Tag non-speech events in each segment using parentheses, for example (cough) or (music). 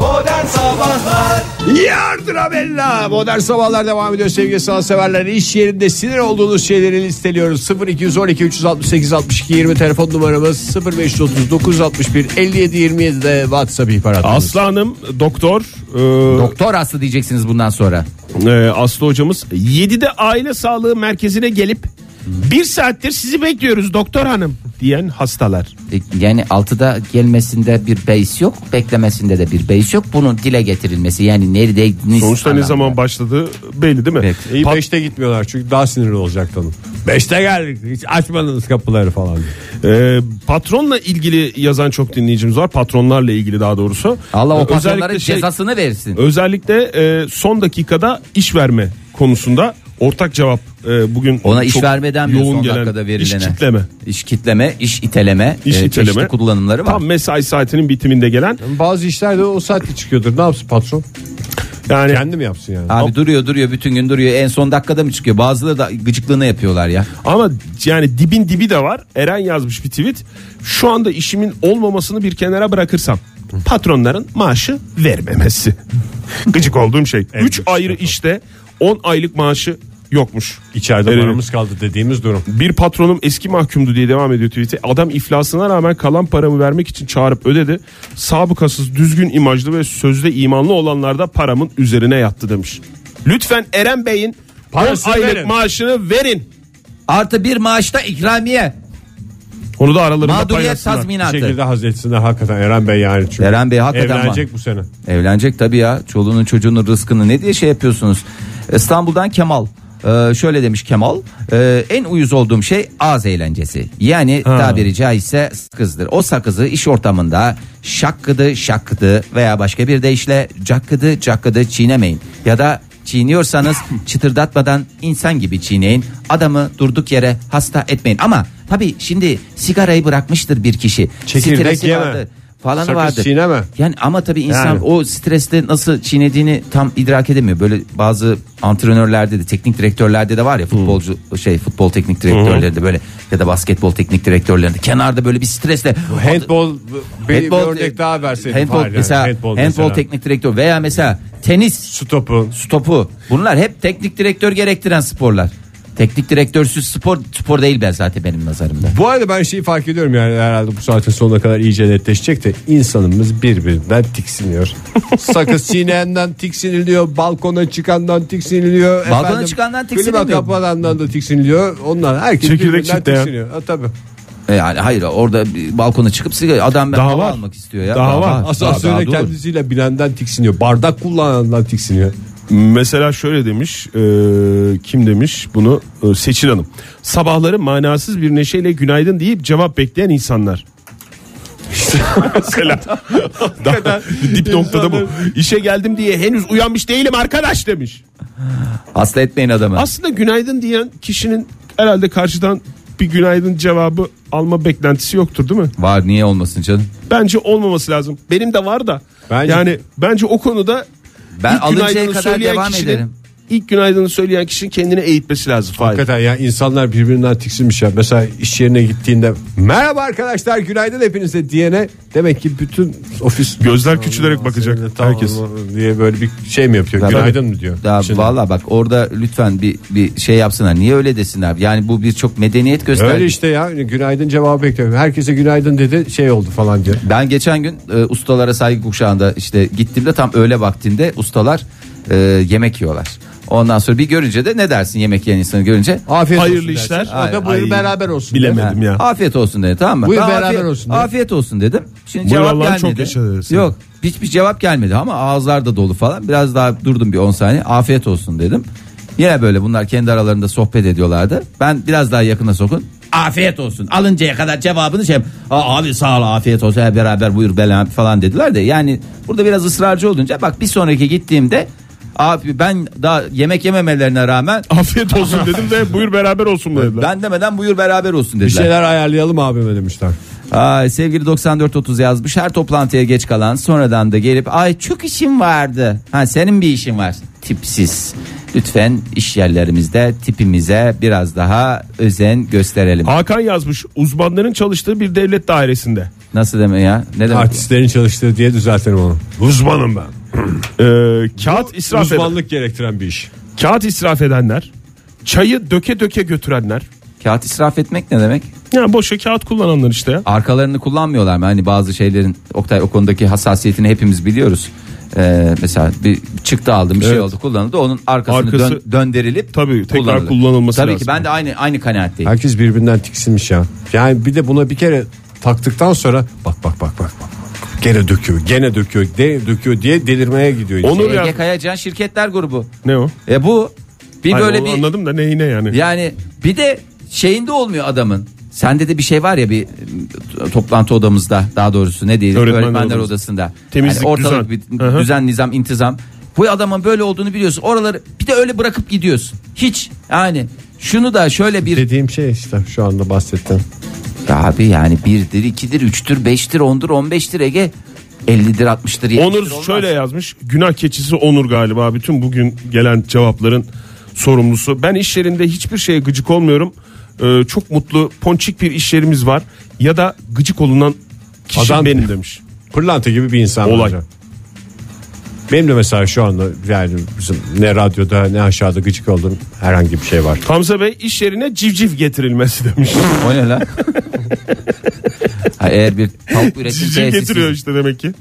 Modern Sabahlar Yardıra bella. Modern sabahlar devam ediyor sevgili sanatseverler. İş yerinde sinir olduğunuz şeyleri listeliyoruz. 0212 368 62 20 telefon numaramız 0539 61 57 27 de WhatsApp ihbar hattımız. Aslı Hanım doktor. e, Doktor Aslı diyeceksiniz bundan sonra. Ee, Aslı hocamız 7'de aile sağlığı merkezine gelip bir saattir sizi bekliyoruz doktor hanım diyen hastalar. E, Yani 6'da gelmesinde bir beis yok, beklemesinde de bir beis yok. Bunun dile getirilmesi yani neredeydiniz? Sonuçta ne anlamında. zaman başladı belli değil mi? Evet. İyi Pat- 5'te gitmiyorlar çünkü daha sinirli olacak tanım. 5'te geldik hiç açmadınız kapıları falan. Ee, patronla ilgili yazan çok dinleyicimiz var. Patronlarla ilgili daha doğrusu. Allah Ee, o patronların özellikle şey- cezasını versin. Özellikle e, son dakikada iş verme konusunda ortak cevap e, bugün Ona iş çok vermeden mi yoğun son gelen dakikada verilene? iş kitleme. İş kitleme, iş iteleme, İş e, iteleme. çeşitli kullanımları var. Tam mesai saatinin bitiminde gelen Bazı işlerde o saatte çıkıyordur. Ne yapsın patron? yani Kendi mi yapsın yani? Abi duruyor duruyor bütün gün duruyor en son dakikada mı çıkıyor? Bazıları da gıcıklığını yapıyorlar ya. Ama yani dibin dibi de var. Eren yazmış bir tweet. Şu anda işimin olmamasını bir kenara bırakırsam patronların maaşı vermemesi. (laughs) Gıcık olduğum şey. 3 ayrı işte 10 aylık maaşı yokmuş. İçeride Verelim. paramız kaldı dediğimiz durum. Bir patronum eski mahkumdu diye devam ediyor tweet'i. Adam iflasına rağmen kalan paramı vermek için çağırıp ödedi. Sabıkasız, düzgün imajlı ve sözde imanlı olanlar da paramın üzerine yattı demiş. Lütfen Eren Bey'in 10 Parasını aylık verin. maaşını verin. Artı bir maaşta ikramiye. Onu da aralarında Mağduriyet paylaşsınlar. Bir tazminatı. şekilde hazretsinler hakikaten Eren Bey yani. Çünkü Eren Bey hakikaten var. Evlenecek bu sene. Evlenecek tabii ya. Çoluğunun çocuğunun rızkını ne diye şey yapıyorsunuz. İstanbul'dan Kemal. Ee, şöyle demiş Kemal "Ee, en uyuz olduğum şey ağız eğlencesi yani tabiri caizse sakızdır o sakızı iş ortamında şakkıdı şakkıdı veya başka bir deyişle cakkıdı cakkıdı çiğnemeyin ya da (laughs) çiğniyorsanız çıtırdatmadan insan gibi çiğneyin adamı durduk yere hasta etmeyin ama tabii şimdi sigarayı bırakmıştır bir kişi Çekirdek Stresi yeme. vardır falan Sakız vardır çiğneme. yani ama tabii insan Yani. o streste nasıl çiğnediğini tam idrak edemiyor. Böyle bazı antrenörlerde de teknik direktörlerde de var ya futbolcu şey futbol teknik direktörleri de böyle ya da basketbol teknik direktörlerinde kenarda böyle bir stresle Handball, bir- bir Handball- örnek daha verseydin. Handball Fahir yani. mesela Handball handball, mesela. teknik direktör veya mesela tenis Stopu. stopu bunlar hep teknik direktör gerektiren sporlar. Teknik direktörsüz spor spor değil ben zaten benim nazarımda. Bu arada ben şeyi fark ediyorum yani herhalde bu saatin sonuna kadar iyice netleşecek de insanımız birbirinden tiksiniyor. (laughs) Sakız çiğneyenden tiksiniliyor, balkona çıkandan tiksiniliyor. Balkona çıkandan tiksinilmiyor. Klima kapanandan da tiksiniliyor. Onlar herkes Çekirdek birbirinden çitleyen. tiksiniyor. Ha, tabii. E Yani hayır orada bir balkona çıkıp sigara adam Daha hava var. almak istiyor ya. Daha var. Daha- Asansöre daha dur. kendisiyle binenden tiksiniyor. Bardak kullanandan tiksiniyor. Mesela şöyle demiş e, kim demiş bunu E, Seçil Hanım. Sabahları manasız bir neşeyle günaydın deyip cevap bekleyen insanlar. (laughs) Mesela daha dip noktada bu. İşe geldim diye henüz uyanmış değilim arkadaş demiş. Hasta etmeyin adamı. Aslında günaydın diyen kişinin herhalde karşıdan bir günaydın cevabı alma beklentisi yoktur değil mi? Var niye olmasın canım? Bence olmaması lazım. Benim de var da. Bence- Yani bence o konuda Ben ilk alıncaya günaydını kadar söyleyen devam kişinin- ederim. İlk günaydını söyleyen kişinin kendini eğitmesi lazım. Fahir. Hakikaten ya insanlar birbirinden tiksinmiş ya. Mesela iş yerine gittiğinde merhaba arkadaşlar günaydın hepinize diyene demek ki bütün ofis Gözler küçülerek bakacak Tamam herkes. diye böyle bir şey mi yapıyor? Ben- günaydın mı diyor? Daha Şimdi- valla bak orada lütfen bir bir şey yapsınlar. Niye öyle desinler? Yani bu bir çok medeniyet göstergesi. Öyle işte ya hani günaydın cevabı bekliyorum. Herkese günaydın dedi şey oldu falan diyor. Ben geçen gün e, ustalara saygı kuşağında işte gittiğimde tam öğle vaktinde ustalar e, yemek yiyorlar. Ondan sonra bir görünce de ne dersin yemek yiyen insanı görünce? Afiyet Hayırlı olsun işler. Dersin. O da Hayır, buyur ay, beraber olsun. bilemedim. der. Dedim ya. Afiyet olsun dedi tamam mı? Buyur Ben beraber afiyet, olsun dedi. Afiyet olsun dedim. Şimdi Buyur cevap Allah'ım çok gelmedi. yaşa dedi. Yok hiçbir cevap gelmedi ama ağızlar da dolu falan. Biraz daha durdum bir 10 saniye afiyet olsun dedim. Yine böyle bunlar kendi aralarında sohbet ediyorlardı. Ben biraz daha yakına sokun. Afiyet olsun. Alıncaya kadar cevabını şey "Aa, abi sağ ol afiyet olsun hep beraber buyur bela falan dediler de yani burada biraz ısrarcı olunca bak bir sonraki gittiğimde abi ben daha yemek yememelerine rağmen Afiyet (laughs) olsun dedim de buyur beraber olsun dediler. ben demeden buyur beraber olsun dediler. Bir şey şeyler ayarlayalım abime demişler. Ay, sevgili 9430 yazmış her toplantıya geç kalan sonradan da gelip ay çok işim vardı. Ha senin bir işin var. Tipsiz. Lütfen iş yerlerimizde tipimize biraz daha özen gösterelim. Hakan yazmış uzmanların çalıştığı bir devlet dairesinde. Nasıl deme ya? Ne demek? Artistlerin çalıştığı diye düzeltirim onu. (clears throat) Uzmanım ben. Ee, kağıt israf eden, Uzmanlık gerektiren bir iş. kağıt israf edenler, çayı döke döke götürenler. Kağıt israf etmek ne demek? Yani boşa kağıt kullananlar işte. ya. Arkalarını kullanmıyorlar mı? Hani bazı şeylerin Oktay o konudaki hassasiyetini hepimiz biliyoruz. Ee, mesela bir çıktı aldım bir şey Evet. oldu kullanıldı onun arkasını Arkası- dön- dönderilip Tabii, tekrar kullanılır. kullanılması Tabii lazım. ki ben de aynı aynı kanaatteyim. Herkes birbirinden tiksinmiş ya. Yani bir de buna bir kere taktıktan sonra bak bak bak bak. bak. Gene döküyor, gene döküyor, de döküyor diye delirmeye gidiyor. insan. Onur Ege ya. Kayacan şirketler grubu. Ne o? E bu bir Hayır, böyle onu bir Anladım da neyine yani. yani bir de şeyinde olmuyor adamın. Sende de bir şey var ya bir e, toplantı odamızda daha doğrusu ne diyelim Öğretmenler öğretmenler, odası. odasında. Temizlik, ortalık düzen. bir Hı hı. düzen nizam intizam. Bu adamın böyle olduğunu biliyorsun. Oraları bir de öyle bırakıp gidiyorsun. Hiç yani şunu da şöyle bir Dediğim şey işte şu anda bahsettim. abi yani birdir ikidir üçtür beştir ondur on beştir Ege 50'dir 60'dır 70'dir Onur olmaz. şöyle yazmış. Günah keçisi Onur galiba. Bütün bugün gelen cevapların sorumlusu. Ben iş yerinde hiçbir şeye gıcık olmuyorum. Ee, çok mutlu, ponçik bir iş yerimiz var. Ya da gıcık olunan kişi Adam- benim demiş. Pırlanta gibi bir insan. Olay. bence. Benim de mesela şu anda yani bizim ne radyoda ne aşağıda gıcık olduğum herhangi bir şey var. Hamza Bey iş yerine civciv getirilmesi demiş. O ne (laughs) lan? ha, eğer bir tavuk üretim civciv getiriyor tesisi işte demek ki.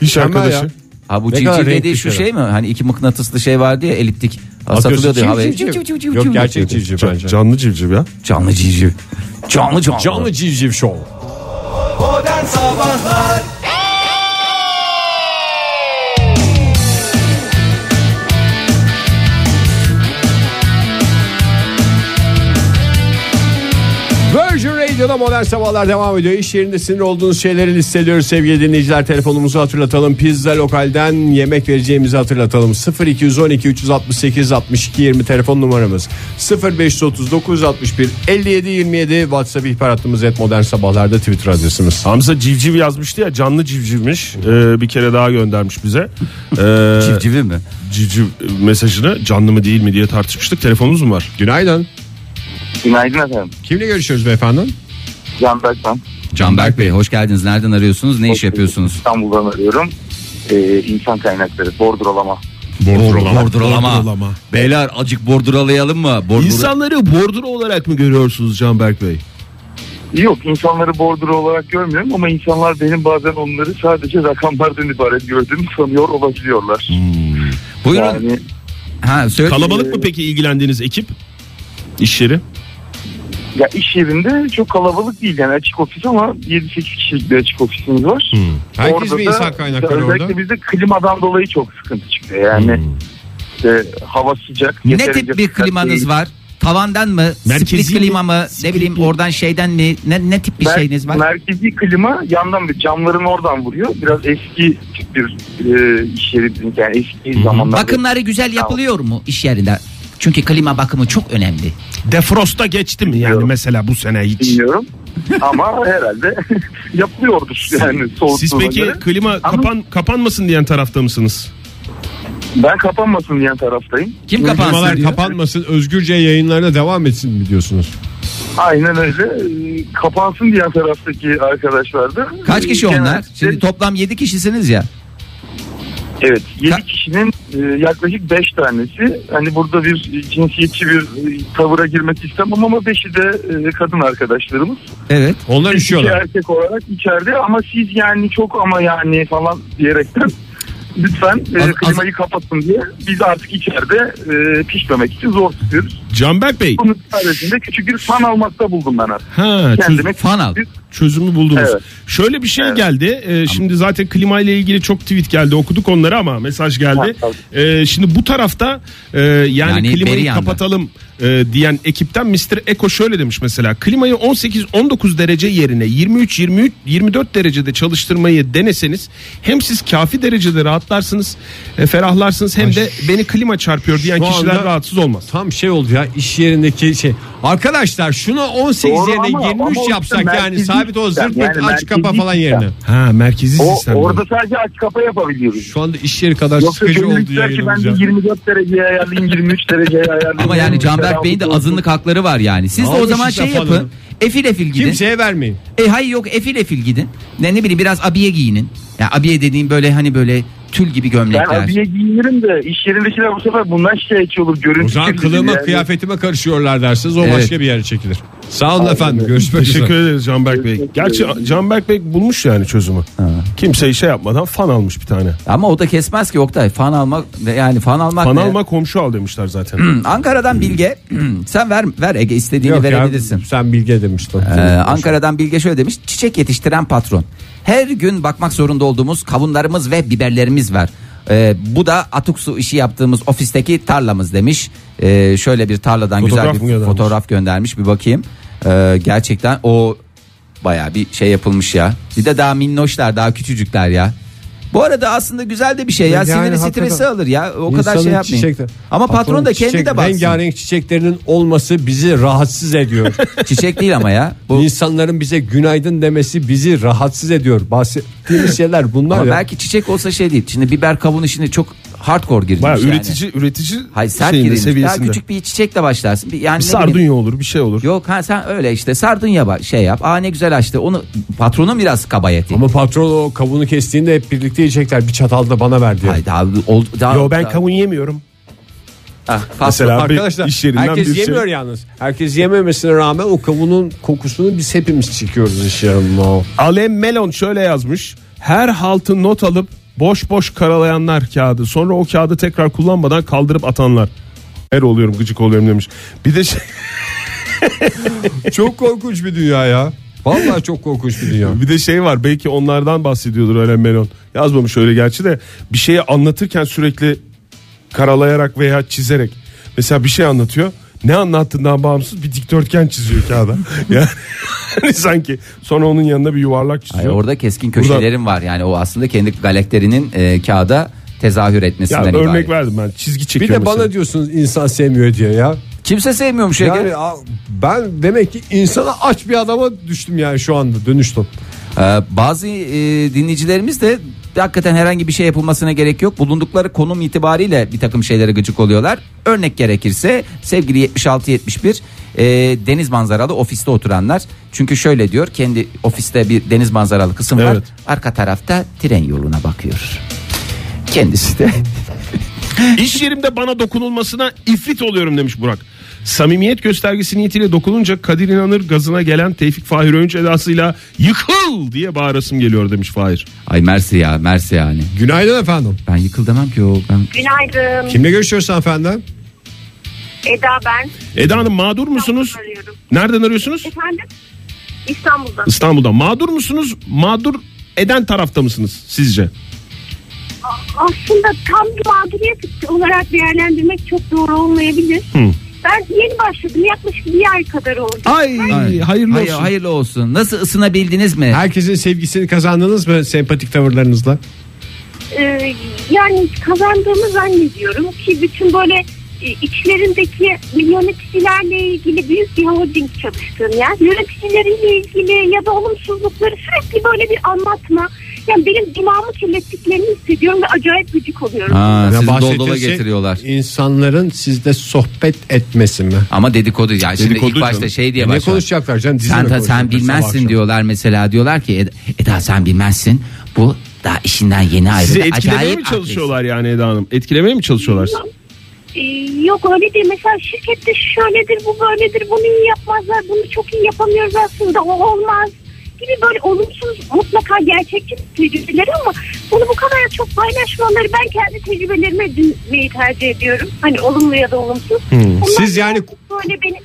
İş Mükemmel arkadaşı. ya. Ha bu Ne kadar civciv renkli dediği şu şeyler. şey mi? Hani iki mıknatıslı şey vardı ya eliptik. Ha, Satılıyordu ya havaya. Civciv, civciv, civciv, Yok civciv. gerçek civciv Can- bence. Canlı civciv ya. Canlı civciv. Canlı canlı. Canlı civciv show. Virgin Radio'da modern sabahlar devam ediyor. İş yerinde sinir olduğunuz şeyleri listeliyoruz sevgili dinleyiciler. Telefonumuzu hatırlatalım. Pizza lokalden yemek vereceğimizi hatırlatalım. 0212 368 62 20 telefon numaramız. 0539 61 57 27 WhatsApp ihbar hattımız et modern sabahlarda Twitter adresimiz. Hamza civciv yazmıştı ya canlı civcivmiş. Ee, bir kere daha göndermiş bize. Ee, Civcivi mi? civciv mesajını canlı mı değil mi diye tartışmıştık. Telefonunuz mu var? Günaydın. Günaydın efendim. Kimle görüşüyoruz beyefendi? Can Berkman. Canberk Bey hoş geldiniz. Nereden arıyorsunuz? Ne iş yapıyorsunuz? İstanbul'dan arıyorum. Ee, insan kaynakları, bordrolama. Borduralama. Beyler acık borduralayalım mı? Bordura... İnsanları bordro olarak mı görüyorsunuz Canberk Bey? Yok insanları bordro olarak görmüyorum ama insanlar benim bazen onları sadece rakamlardan ibaret gördüğümü sanıyor olabiliyorlar. Buyurun. Yani Ha, söyle. Kalabalık mı peki ilgilendiğiniz ekip? İş yeri? ya iş yerinde çok kalabalık değil yani açık ofis ama 7-8 kişilik bir açık ofisimiz var. Hmm. Herkes Orada bir da insan kaynakları özellikle orada. Hmm. bizde klimadan dolayı çok sıkıntı çıkıyor yani. işte hava sıcak. Ne yeterince tip bir sıcak klimanız değil. var? Tavandan mı? Merkezi Split klima mi? mı? Ne bileyim oradan şeyden mi? Ne, ne tip bir Mer- şeyiniz var? Merkezi klima yandan bir camların oradan vuruyor. Biraz eski tip bir e, iş yeri bizim, yani eski zamanlarda. Bakımları güzel yapılıyor mu iş yerinde? Çünkü klima bakımı çok önemli. Defrost'a geçti mi yani Yok. mesela bu sene hiç? Bilmiyorum. Ama herhalde (laughs) yapılıyordur yani Siz soğukluğuna peki göre. klima kapan kapanmasın diyen tarafta mısınız? Ben kapanmasın diyen taraftayım. Kim kapansın Firmalar diyor? kapanmasın özgürce yayınlarına devam etsin mi diyorsunuz? Aynen öyle. E, Kapansın diyen taraftaki arkadaşlar da. Kaç kişi e, onlar? genellikle- Şimdi toplam 7 kişisiniz ya. Evet 7 Ka- kişinin e, yaklaşık 5 tanesi hani burada bir e, cinsiyetçi bir e, tavıra girmek istemem ama 5'i de e, kadın arkadaşlarımız. Evet. Onlar İki üşüyorlar. erkek olarak içeride ama siz yani çok ama yani falan diyerekten lütfen e, Az- az- klimayı kapatın diye biz artık içeride e, pişmemek için zor tutuyoruz. Canberk Bey. Bunun sayesinde küçük bir fan almakta buldum ben artık. Ha, çöz- Kendime Fan al. çözümü buldunuz. Evet. Şöyle bir şey Evet. geldi. Ee, şimdi zaten klima ile ilgili çok tweet geldi. Okuduk onları ama mesaj geldi. Ha, Ee, şimdi bu tarafta e, yani, Yani beri klimayı yandı. kapatalım e, diyen ekipten Mr. Eko şöyle demiş mesela. Klimayı 18-19 derece yerine 23 23 24 derecede çalıştırmayı deneseniz hem siz kafi derecede rahatlarsınız, e, ferahlarsınız hem de beni klima çarpıyor diyen Şu kişiler anda- rahatsız olmaz. Tam şey oldu ya iş yerindeki şey. Arkadaşlar şunu 18 Doğru yerine ama- 23 ama o yapsak işte yani merkezi sabit o sistem, zırt yani pırt aç merkezi kapa falan sistem. yerine. Ha merkezi O, sistem. orada sadece aç kapa yapabiliyoruz. Şu anda iş yeri kadar Yoksa sıkıcı gönül oldu ister ki ben yayınımız de ya. 24 dereceye ayarlayayım 23 dereceye ayarlayayım. Ama yani Canberk Bey'in de azınlık hakları var yani. Siz de Almış o zaman işte şey fanını. yapın. Efil efil gidin. Kimseye vermeyin. E hayır yok efil efil gidin. Ne ne bileyim biraz abiye giyinin. Ya abiye dediğim böyle hani böyle tül gibi Ben gömlekler. abiye giyinirim de iş yerindekiler bu sefer bundan şikayetçi olur. Görüntü O zaman kirliliği kılığıma yani. kıyafetime karışıyorlar dersiniz o Evet. başka bir yere çekilir. Sağ olun efendim görüşmek Teşekkür üzere. ederiz Canberk Bey. Gerçi Canberk Bey bulmuş yani çözümü. Kimse şey yapmadan fan almış bir tane. Ama o da kesmez ki Oktay. Fan almak yani fan almak Fan ne? alma komşu al demişler zaten. Ankara'dan Bilge. (clears throat) Sen ver ver Ege istediğini Yok ya, verebilirsin. sen bilge demiştin. Ee, Ankara'dan Bilge şöyle demiş. Çiçek yetiştiren patron. Her gün bakmak zorunda olduğumuz kavunlarımız ve biberlerimiz var. Ee, bu da atık su işi yaptığımız ofisteki tarlamız demiş. Ee, şöyle bir tarladan Fotoğraf güzel mı bir göndermiş? fotoğraf göndermiş. Bir bakayım. Ee, gerçekten o baya bir şey yapılmış ya. Bir de daha minnoşlar daha küçücükler ya. Bu arada aslında güzel de bir şey ya. Yani Sinirin hakikaten stresi alır ya. O kadar şey yapmayın. Ama patron, da kendi de baksın. Rengarenk çiçeklerinin olması bizi rahatsız ediyor. Çiçek değil ama ya. (laughs) Bu İnsanların bize günaydın demesi bizi rahatsız ediyor. Bahsettiğimiz şeyler bunlar Ama ya. belki çiçek olsa şey değil. Şimdi biber kavun işini çok hardcore girilmiş Baya yani. üretici üretici Hayır sert şeyinde, girilmiş. Daha seviyesinde. küçük bir çiçekle başlarsın. Bir, yani bir ne bileyim- sardunya olur bir şey olur. Yok ha sen öyle işte sardunya ba- şey yap. Aa ne güzel açtı. Onu patronun biraz kabayeti. Ama patron o kabuğunu kestiğinde hep birlikte yiyecekler. Bir çatal da bana ver diyor. Hayır daha, ol, daha, Yo ben daha- kavun yemiyorum. Ah, patron- Mesela bir Arkadaşlar iş yerinden herkes bir şey- yemiyor yalnız. Herkes yememesine rağmen o kabuğunun kokusunu biz hepimiz çekiyoruz iş yerinde. o. Alem Melon şöyle yazmış. Her haltı not alıp boş boş karalayanlar kağıdı. Sonra o kağıdı tekrar kullanmadan kaldırıp atanlar. Her oluyorum gıcık oluyorum demiş. Bir de şey, (laughs) Çok korkunç bir dünya ya. Vallahi çok korkunç bir dünya. bir de şey var belki onlardan bahsediyordur Alem Melon. Yazmamış öyle gerçi de bir şeyi anlatırken sürekli karalayarak veya çizerek. Mesela bir şey anlatıyor. Ne anlattığından bağımsız bir dikdörtgen çiziyor (laughs) kağıda. yani hani sanki sonra onun yanına bir yuvarlak çiziyor. Hayır, orada keskin köşelerim var. Yani o aslında kendi galakterinin e, kağıda tezahür Ya etmesinden örnek ibaret. verdim ben. Çizgi Bir çekiyor de bana mesela. diyorsunuz insan sevmiyor diye ya. Kimse sevmiyormuş Ege. Yani a- ben demek ki insana aç bir adama düştüm yani şu anda dönüştüm. Ee, bazı e, dinleyicilerimiz de hakikaten herhangi bir şey yapılmasına gerek yok. Bulundukları konum itibariyle bir takım şeylere gıcık oluyorlar. Örnek gerekirse sevgili 76-71 e, deniz manzaralı ofiste oturanlar. Çünkü şöyle diyor kendi ofiste bir deniz manzaralı kısım var. Evet. Arka tarafta tren yoluna bakıyor. Kendisi de (laughs) İş yerimde bana dokunulmasına ifrit oluyorum demiş Burak. Samimiyet göstergesi niyetiyle dokununca Kadir İnanır gazına gelen Tevfik Fahir Öğünç edasıyla yıkıl diye bağırasım geliyor demiş Fahir. ay mersi ya mersi yani. Günaydın efendim. Ben yıkıl demem ki o ben Günaydın. Kimle görüşüyorsun efendim? Eda ben. Eda Hanım mağdur musunuz? İstanbul'dan arıyorum. Nereden arıyorsunuz? Efendim? İstanbul'dan. İstanbul'dan. Mağdur musunuz? Mağdur eden tarafta mısınız sizce? Aslında tam bir mağduriyet olarak değerlendirmek çok doğru olmayabilir. Hı. Ben yeni başladım. Yaklaşık bir ay kadar oldu. Ay, hayırlı Hayır, olsun. hayırlı olsun. Nasıl ısınabildiniz mi? Herkesin sevgisini kazandınız mı sempatik tavırlarınızla? Ee, yani kazandığımı zannediyorum ki bütün böyle e, içlerindeki yöneticilerle ilgili büyük bir holding çalıştığım yer. Yöneticileriyle ilgili ya da olumsuzlukları sürekli böyle bir anlatma. Yani benim dimağımı kirlettiklerini hissediyorum ve acayip gıcık oluyorum. Ha, Ya sizi bahsettiğin doldola şey, getiriyorlar. İnsanların sizde sohbet etmesi mi? Ama dedikodu ya şimdi Dedikodu ilk başta canım. şey diye E ne başlar. konuşacaklar canım? Dizi mi Sen, ta- sen konuşacaklar sabah bilmezsin akşam? diyorlar mesela diyorlar ki Eda, Eda sen bilmezsin bu daha işinden yeni ayrıldı. Sizi etkilemeye Acayip mi çalışıyorlar yani Eda Hanım? E, Etkilemeye mi çalışıyorlar? sizi? Ee, yok öyle değil. Mesela şirkette şöyledir, bu böyledir, bunu iyi yapmazlar, bunu çok iyi yapamıyoruz aslında, o olmaz gibi böyle olumsuz mutlaka gerçekçi tecrübeleri ama bunu bu kadar çok paylaşmaları ben kendi tecrübelerime edinmeyi tercih ediyorum. Hani olumlu ya da olumsuz. Onlar Hmm. Siz yani- böyle beni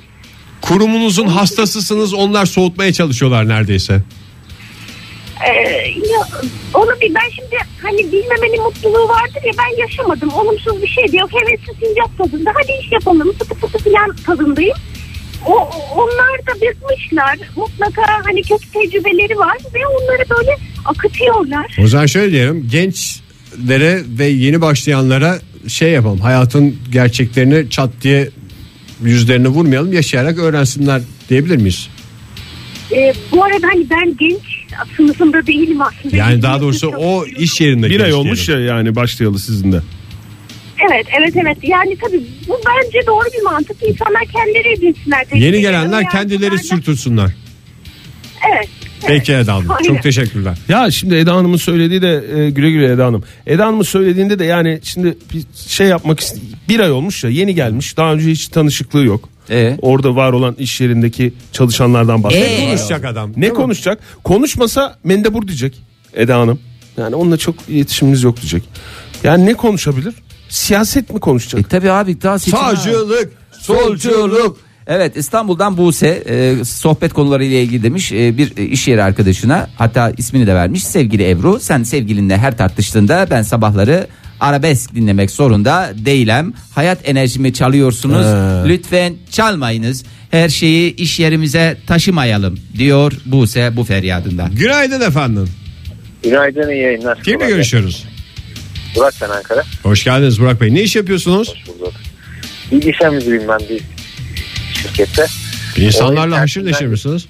Kurumunuzun hastasısınız onlar soğutmaya çalışıyorlar neredeyse. Ee, ya, onu bir ben şimdi hani bilmemenin mutluluğu vardır ya ben yaşamadım olumsuz bir şey diyor hevesli sincap tadında hadi iş yapalım fıtı fıtı filan tadındayım o, onlar da bıkmışlar mutlaka hani kötü tecrübeleri var ve onları böyle akıtıyorlar O zaman şöyle diyelim gençlere ve yeni başlayanlara şey yapalım hayatın gerçeklerini çat diye yüzlerine vurmayalım yaşayarak öğrensinler diyebilir miyiz? Ee, bu arada hani ben genç sınıfında değilim aslında Yani daha doğrusu o iş yerinde. Bir ay genç olmuş diyelim. ya yani başlayalı sizin de. evet evet evet yani tabii bu bence doğru bir mantık insanlar kendileri edinsinler Yeni tecrübeleri. gelenler Yani kendileri bunlardan- sürtünsünler. Evet. Peki Eda Hanım. Aynen. Çok teşekkürler. Ya şimdi Eda Hanım'ın söylediği de e, güle güle Eda Hanım. Eda Hanım'ın söylediğinde de yani şimdi bir şey yapmak ist- bir ay olmuş ya yeni gelmiş. Daha önce hiç tanışıklığı yok. Ee? Orada var olan iş yerindeki çalışanlardan bahsediyor. Ee? Konuşacak adam. Ne konuşacak? Konuşmasa mendebur diyecek Eda Hanım. Yani onunla çok iletişimimiz yok diyecek. Yani ne konuşabilir? Siyaset mi konuşacak? E tabi abi daha seçim. Sağcılık, solculuk. Evet İstanbul'dan Buse e, sohbet konularıyla ilgili demiş e, bir e, iş yeri arkadaşına hatta ismini de vermiş sevgili Ebru sen sevgilinle her tartıştığında ben sabahları arabesk dinlemek zorunda değilim hayat enerjimi çalıyorsunuz lütfen çalmayınız her şeyi iş yerimize taşımayalım diyor Buse bu feryadında. Günaydın efendim. Günaydın iyi yayınlar. Kimle Kolay görüşüyoruz? gelsin. Burak ben Ankara. Hoş geldiniz Burak Bey. Ne iş yapıyorsunuz? Hoş bulduk. Bilgisayar müdürüyüm ben bir şirkette. İnsanlarla Olayı haşır tersinden- neşir misiniz?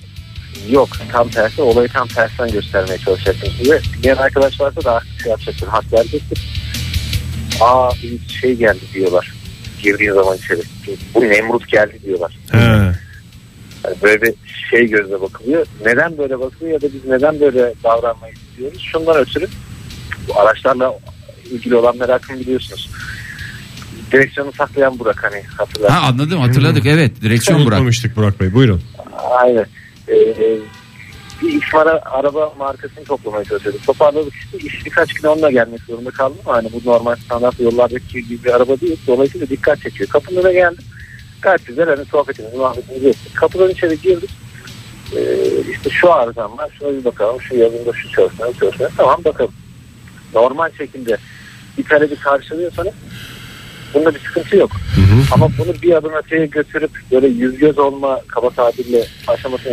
Yok tam tersi olayı tam tersten göstermeye çalışacaktım size. Diğer arkadaş varsa da haksız yapacaktır. Hak verecektir. Aa bir şey geldi diyorlar. Girdiğin zaman içeri. Bu Nemrut geldi diyorlar. Yani böyle bir şey gözle bakılıyor. Neden böyle bakılıyor ya da biz neden böyle davranmayı istiyoruz? Şundan ötürü bu araçlarla ilgili olan merakımı biliyorsunuz. Direksiyonu saklayan Burak hani hatırlar. Ha anladım hatırladık evet direksiyon Burak. Unutmamıştık Burak Bey. Buyurun. Aynen. Ee, bir İsmara araba markasını toplamaya çalışıyordum. Toparladık işte. İş birkaç gün onunla gelmek zorunda kaldım. Hani bu normal standart yollardaki gibi bir araba değil. Dolayısıyla dikkat çekiyor. Kapının önüne geldim. Gayet güzel hani sohbetimizi muhabbetimizi ettik. Kapıdan içeri girdik. Ee, işte şu arızam var. Şuna bir bakalım. Şu yazında şu çalışma, bu çalışma. Tamam bakalım. Normal şekilde bir talebi karşılıyorsanız bunda bir sıkıntı yok. Ama bunu bir adım öteye götürüp böyle yüz göz olma kaba tabirle aşamasına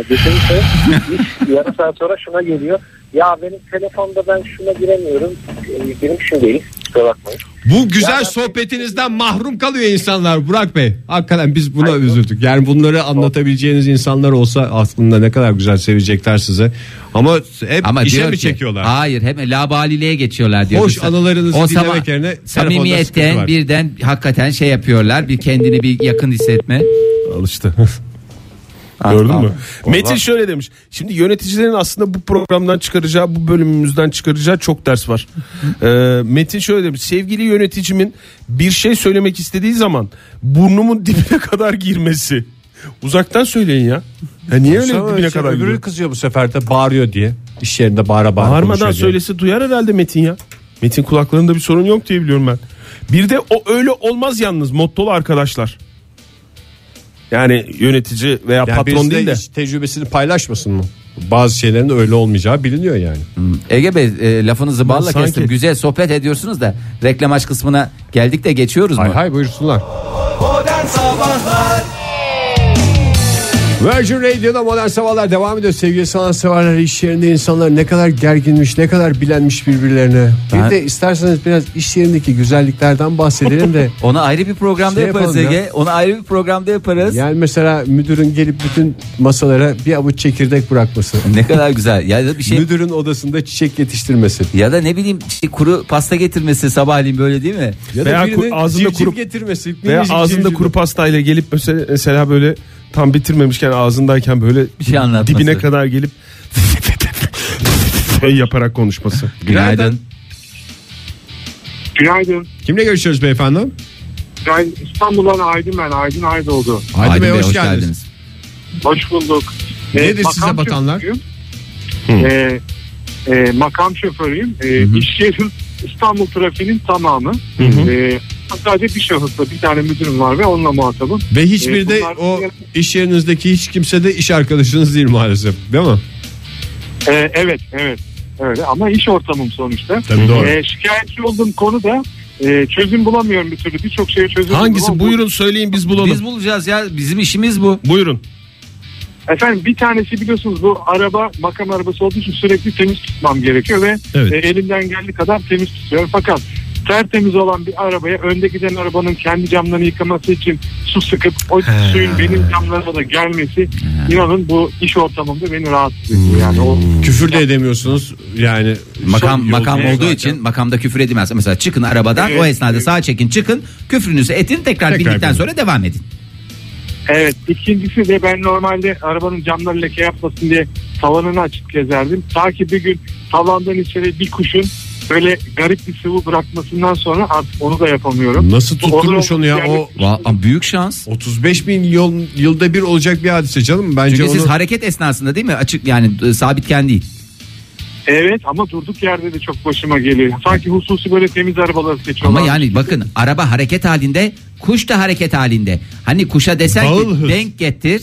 (laughs) getirirse iş yarım saat sonra şuna geliyor. Ya benim telefonda ben şuna giremiyorum. Ee, Benim şundayız. Kusura bakmayın. Bu güzel sohbetinizden mahrum kalıyor insanlar Burak Bey. Hakikaten biz buna üzüldük. Yani bunları anlatabileceğiniz insanlar olsa aslında ne kadar güzel sevecekler sizi. Ama hep Ama işe diyor mi ki- çekiyorlar? Hayır hem labaliliğe geçiyorlar diyor. Hoş Mesela. anılarınızı O dinlemek sama- yerine telefonda sıkıntı var. samimiyetten birden hakikaten şey yapıyorlar. Bir kendini bir yakın hissetme. (laughs) Alıştı. Ah, Gördün ah. mü? Metin şöyle demiş. Şimdi yöneticilerin aslında bu programdan çıkaracağı, bu bölümümüzden çıkaracağı çok ders var. Ee, Metin şöyle demiş. Sevgili yöneticimin bir şey söylemek istediği zaman burnumun dibine (laughs) kadar girmesi. Uzaktan söyleyin ya. Ya niye öyle Sonra dibine işte kadar şey öbürü giriyor? kızıyor bu sefer de bağırıyor diye. İş yerinde bağıra bağıra Bağırmadan konuşuyor diye. söylese duyar herhalde Metin ya. Metin kulaklarında bir sorun yok diye biliyorum ben. Bir de o öyle olmaz yalnız mottolu arkadaşlar. Yani yönetici veya Yani patron birisi değil de. hiç tecrübesini paylaşmasın mı? Bazı şeylerin de öyle olmayacağı biliniyor yani. Ege Bey e, lafınızı balla sanki- kestim. Güzel sohbet ediyorsunuz da reklam aç kısmına geldik de geçiyoruz mu? Hay hay buyursunlar. Virgin Radio'da Modern Sabahlar devam ediyor. Sevgili sanatseverler iş yerinde insanlar ne kadar gerginmiş, ne kadar bilenmiş birbirlerine. Ben- Bir de isterseniz biraz iş yerindeki güzelliklerden bahsedelim (laughs) de. Onu ayrı bir programda Şey yaparız yapalım Ege. ya. Onu ayrı bir programda yaparız. Yani mesela müdürün gelip bütün masalara bir avuç çekirdek bırakması. Ne kadar güzel. Ya da bir şey Müdürün odasında çiçek yetiştirmesi. ya da ne bileyim şey, kuru pasta getirmesi sabahleyin böyle değil mi? Ya Veya da birinin kur- ağzında civciv kurup- getirmesi. Veya minicik ağzında civciv. kuru pastayla gelip mesela, mesela böyle tam bitirmemişken ağzındayken böyle Bir şey anlatması. dibine kadar gelip (laughs) şey yaparak konuşması. Günaydın. Günaydın. Kimle görüşüyoruz beyefendi? Ben İstanbul'dan Aydın ben. Aydın Aydoğdu. Haydi Aydın Bey, hoş geldiniz. Hoş bulduk. Nedir makam size batanlar? şoförüyüm. Ee, e, makam şoförüyüm. Ee, iş yerim İstanbul trafiğinin tamamı. Ee, sadece bir şahısla bir tane müdürüm var ve onunla muhatabım. Ve hiçbir Ee, de bunlar- o iş yerinizdeki hiç kimse de iş arkadaşınız değil maalesef. Değil mi? Ee, evet evet öyle ama iş ortamım sonuçta. Tabii doğru. Ee, şikayetçi olduğum konu da e, çözüm bulamıyorum bir türlü birçok şeye çözüm Hangisi bulamam. buyurun söyleyin biz bulalım. Biz bulacağız ya bizim işimiz bu. Buyurun. Efendim bir tanesi biliyorsunuz bu araba makam arabası olduğu için sürekli temiz tutmam gerekiyor ve Evet. e, elimden geldiği kadar temiz tutuyorum. Fakat tertemiz olan bir arabaya önde giden arabanın kendi camlarını yıkaması için su sıkıp o suyun benim camlarıma da gelmesi inanın bu iş ortamında beni rahatsız ediyor. Yani o Küfür de edemiyorsunuz. Yani Makam son makam yolculuğu olduğu zaten. için makamda küfür edilmez. Mesela çıkın arabadan Evet. o esnada sağa çekin çıkın küfrünüzü etin tekrar, Tekrar bindikten binin. sonra devam edin. Evet ikincisi de ben normalde arabanın camları leke yapmasın diye tavanını açıp gezerdim. Ta ki bir gün tavandan içeri bir kuşun böyle garip bir sıvı bırakmasından sonra artık onu da yapamıyorum. Nasıl tutturmuş onu ya? O Va- büyük şans. 35 bin yıl, yılda bir olacak bir hadise canım. Bence Çünkü onu... siz hareket esnasında değil mi? Açık yani e, sabitken değil. Evet ama durduk yerde de çok başıma geliyor. Sanki hususi böyle temiz arabaları Ama seçiyorlar. yani bakın araba hareket halinde, kuş da hareket halinde. Hani kuşa desen Bağıl ki hız. denk getir,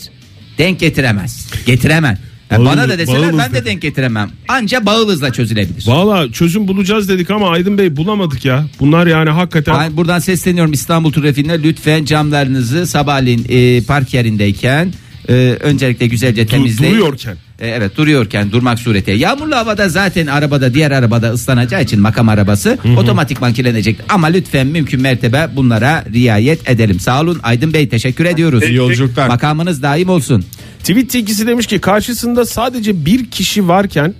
denk getiremez. Getiremem. Ya Bağıl- bana da deseler bağıl ben hız de dedi. denk getiremem. Anca bağıl hızla çözülebilir. Valla çözüm bulacağız dedik ama Aydın Bey bulamadık ya. Bunlar yani hakikaten Ben buradan sesleniyorum İstanbul trafiğine lütfen camlarınızı sabahleyin e, park yerindeyken e, öncelikle güzelce temizleyin. duruyorken. E, evet duruyorken durmak suretiyle. Yağmurlu havada zaten arabada diğer arabada ıslanacağı için makam arabası otomatikman kirlenecek. Ama lütfen mümkün mertebe bunlara riayet edelim. Sağ olun Aydın Bey teşekkür ediyoruz. İyi yolculuklar. Makamınız daim olsun. Tweet tilkisi demiş ki karşısında sadece bir kişi varken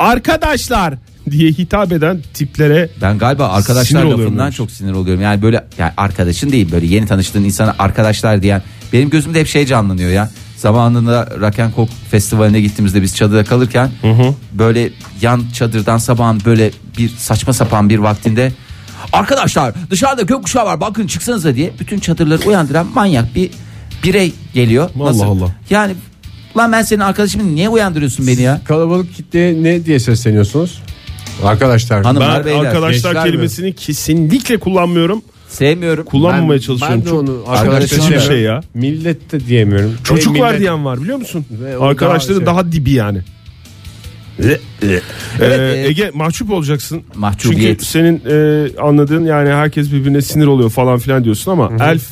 arkadaşlar diye hitap eden tiplere Ben galiba Sinir arkadaşlar oluyorum lafından demiş. çok sinir oluyorum. Yani böyle yani arkadaşın değil böyle yeni tanıştığın insana arkadaşlar diyen. Benim gözümde hep şey canlanıyor ya. Zamanında Rakenkok Festivali'ne gittiğimizde biz çadırda kalırken böyle yan çadırdan sabahın böyle bir saçma sapan bir vaktinde arkadaşlar dışarıda gökkuşağı var bakın çıksanıza diye bütün çadırları uyandıran manyak bir birey geliyor. Allah Allah. Yani lan ben senin arkadaşımın niye uyandırıyorsun beni ya? Kalabalık kitleye ne diye sesleniyorsunuz? Arkadaşlar. Hanımlar ben beyler arkadaşlar gençler mi? kelimesini kesinlikle kullanmıyorum. sevmiyorum. Kullanmamaya çalışıyorum. Ben de Çok onu Arkadaşlar arkadaşlar bir şey ya. Millet de diyemiyorum. Çocuk Ey var millet- diyen var biliyor musun? Ve o şey. Arkadaşların daha daha, dibi yani. Ee, e- Ege mahcup olacaksın. Mahcubiyet. Çünkü senin e, anladığın yani herkes birbirine sinir oluyor falan filan diyorsun ama Elf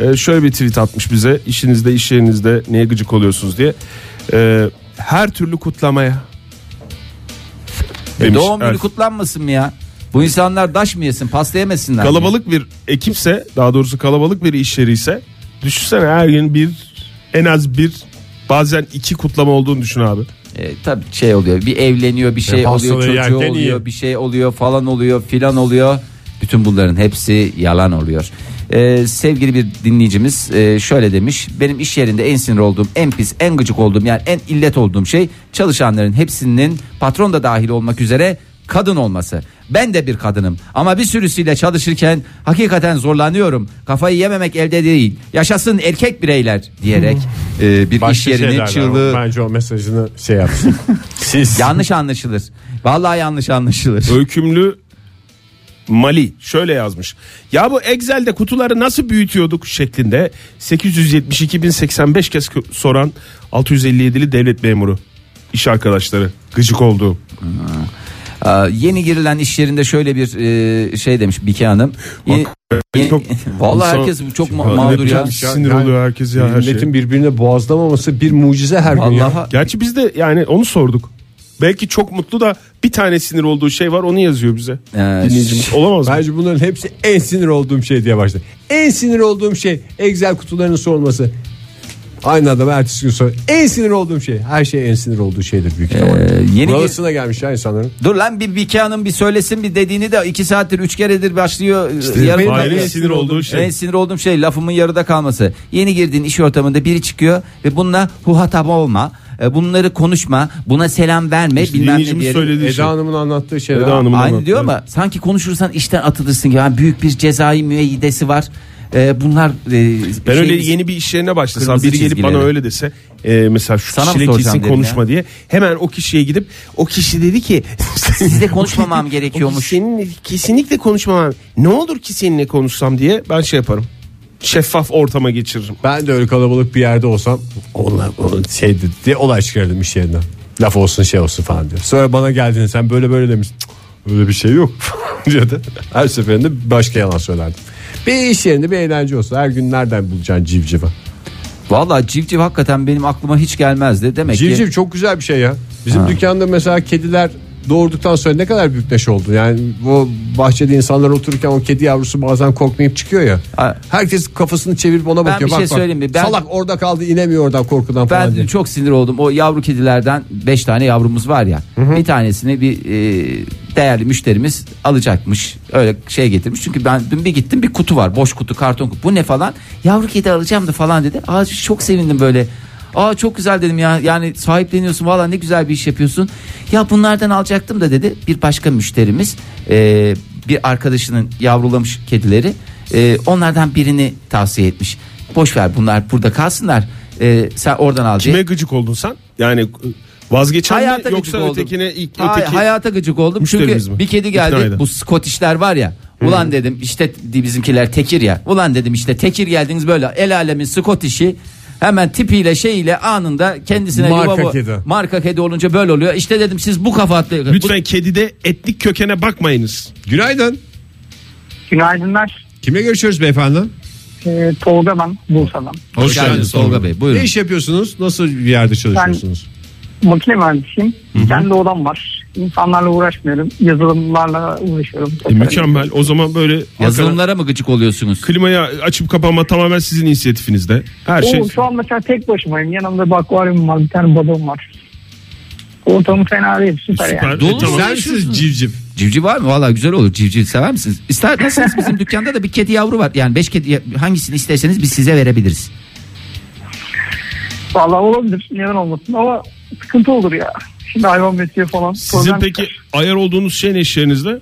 e, şöyle bir tweet atmış bize. İşinizde iş yerinizde neye gıcık oluyorsunuz diye. E, her türlü kutlamaya. E Demiş doğum günü Elf. kutlanmasın mı ya? Bu insanlar daş mı yesin, pasta yemesinler. mi? Kalabalık bir ekipse daha doğrusu kalabalık bir iş yeri ise düşünsene her gün bir en az bir bazen iki kutlama olduğunu düşün abi. E, tabii şey oluyor. Bir evleniyor, bir şey pastaları oluyor, çocuğu yerken oluyor, iyi. bir şey oluyor, falan oluyor, filan oluyor. Bütün bunların hepsi yalan oluyor. E, sevgili bir dinleyicimiz e, şöyle demiş. Benim iş yerinde en sinir olduğum, en pis, en gıcık olduğum yani en illet olduğum şey çalışanların hepsinin patron da dahil olmak üzere kadın olması. Ben de bir kadınım ama bir sürüsüyle çalışırken hakikaten zorlanıyorum. Kafayı yememek elde değil. Yaşasın erkek bireyler diyerek e, bir iş Hmm. başka şeyler yerinin var. çığlığı Bence o mesajını şey yapsın. Siz. Yanlış anlaşılır. Vallahi yanlış anlaşılır. Öykümlü Mali şöyle yazmış. Ya bu Excel'de kutuları nasıl büyütüyorduk şeklinde 872.085 kez kö- soran 657'li devlet memuru iş arkadaşları gıcık olduğum. Ee, yeni girilen iş yerinde şöyle bir e, şey demiş Bike Hanım. Ye- ye- çok- (laughs) Vallahi insan- herkes çok ma- mağdur ya. yapacağız. Sinir şey- Yani oluyor herkes ya her şey. Milletin birbirine boğazlamaması bir mucize her gün ya. Vallahi Gerçi biz de yani onu sorduk. Belki çok mutlu da bir tane sinir olduğu şey var onu yazıyor bize. Ee, Dinleyicimiz olamaz mı? Bence bunların hepsi en sinir olduğum şey diye başladı. En sinir olduğum şey Excel kutularının sorması. Aynı adam ertesi gün sonra en sinir olduğum şey. Her şey en sinir olduğu şeydir büyük ihtimalle. yeni Buralısına gelmiş ya insanların. dur lan bir Bike Hanım bir söylesin bir dediğini de iki saattir üç keredir başlıyor. e, Yarım benim kalıyor. Ailenin sinir olduğu En şey. sinir olduğum şey lafımın yarıda kalması. Yeni girdiğin iş ortamında biri çıkıyor ve bununla huhatap olma. e, Bunları konuşma. Buna selam verme. bilmem ne Dinleyicimiz diyerek. söylediği şey. Eda Hanım'ın anlattığı şeyler. Eda Hanım'ın Aynı anlattığı. diyor ama sanki konuşursan işten atılırsın gibi. Yani büyük bir cezai müeyyidesi var. Ee, bunlar e, Ben şey- öyle yeni bir iş yerine başlasam Kırmızı biri gelip bana çizgileri. öyle dese e, mesela şu Sana mı kişiyle soracağım kesin dedim konuşma ya. diye hemen o kişiye gidip o kişi dedi ki (laughs) sizle (laughs) konuşmamam şey- gerekiyormuş. Seninle kesinlikle konuşmam. Ne olur ki seninle konuşsam diye ben şey yaparım. Şeffaf ortama geçiririm. Ben de öyle kalabalık bir yerde olsam onlar onlar şey dedi diye olay çıkardım iş yerinden. Laf olsun şey olsun falan diyor. Sonra bana geldiğinde sen böyle böyle demiştin. Cık, Öyle bir şey yok (laughs) diyordu. Her seferinde başka yalan söylerdim. Bir iş yerinde bir eğlence olsa her gün nereden bulacaksın civcivi? Valla civciv hakikaten benim aklıma hiç gelmezdi. Demek Civciv ki çok güzel bir şey ya. Bizim dükkanda mesela kediler doğurduktan sonra ne kadar büyük neşe oldu. Yani bu bahçede insanlar otururken o kedi yavrusu bazen korkmayıp çıkıyor ya. Ha. Herkes kafasını çevirip ona bakıyor. bir şey bak, bak. söyleyeyim mi? Ben- Salak orada kaldı inemiyor oradan korkudan falan ben diye. çok sinir oldum. O yavru kedilerden 5 tane yavrumuz var ya. Bir tanesini bir e, değerli müşterimiz alacakmış. Öyle şey getirmiş. Çünkü ben dün bir gittim bir kutu var. Boş kutu karton kutu. Bu ne falan. Yavru kedi alacağım da falan dedi. Aa, çok sevindim böyle. Aa çok güzel dedim ya. Yani sahipleniyorsun valla ne güzel bir iş yapıyorsun. Ya bunlardan alacaktım da dedi bir başka müşterimiz e, bir arkadaşının yavrulamış kedileri e, onlardan birini tavsiye etmiş. Boş ver bunlar burada kalsınlar. E, sen oradan al diye. Kime gıcık oldun sen? Yani e, vazgeçen Hayata gıcık mi yoksa oldum. ötekine ilk Hay- öteki hayata gıcık oldum müşterimiz çünkü mi? bir kedi İkna geldi eden. bu Scottish'ler var ya ulan dedim işte bizimkiler tekir ya ulan dedim işte tekir geldiniz böyle el alemin Scottish'i hemen tipiyle şeyiyle anında kendisine Marka yuva bu- kedi. marka kedi olunca böyle oluyor işte dedim siz bu kafatlı Lütfen kedide etnik kökene bakmayınız. Günaydın. Günaydınlar. Kime görüşüyoruz beyefendi? Ee, Tolga ben Bursa'dan. Hoş geldiniz Tolga Bey, buyurun. Ne iş yapıyorsunuz? Nasıl bir yerde çalışıyorsunuz? Makine mühendisiyim. Kendi odam var. İnsanlarla uğraşmıyorum. Yazılımlarla uğraşıyorum. E, mükemmel. O zaman böyle arkana- yazılımlara mı gıcık oluyorsunuz? klimayı açıp kapama tamamen sizin inisiyatifinizde. Her O, şey. Şu an mesela tek başımayım. Yanımda bir akvaryum var. Bir tane balon var. Ortamı fena değil. Süper, yani. Süper. Dolu E, tamam. mu? Sensiz civciv. Civciv var mı? Valla güzel olur. Civciv sever misiniz? İster misiniz? bizim dükkanda da bir kedi yavru var. Yani beş kedi hangisini isterseniz biz size verebiliriz. Vallahi olabilir. Neden olmasın ama sıkıntı olur ya. Şimdi hayvan besliyor falan. Sizin Problem peki çıkar. ayar olduğunuz şey ne iş yerinizde?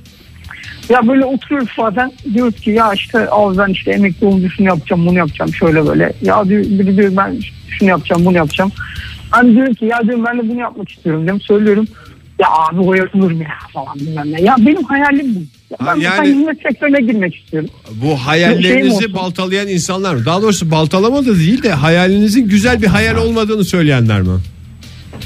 Ya böyle oturuyoruz bazen. Diyoruz ki ya işte al ben işte emekli olunca şunu yapacağım bunu yapacağım şöyle böyle. Ya diyor, biri diyor ben şunu yapacağım bunu yapacağım. Ben diyorum ki ya diyorum ben de bunu yapmak istiyorum diyorum. Söylüyorum ya abi o yapılır mı ya falan bilmem ne. Ya benim hayalim bu. Ya ben Ha, mesela yani- hizmet sektörüne girmek istiyorum. Bu Şey mi hayallerinizi olsun? baltalayan insanlar mı? Daha doğrusu baltalama da değil de hayalinizin güzel bir hayal olmadığını söyleyenler mi?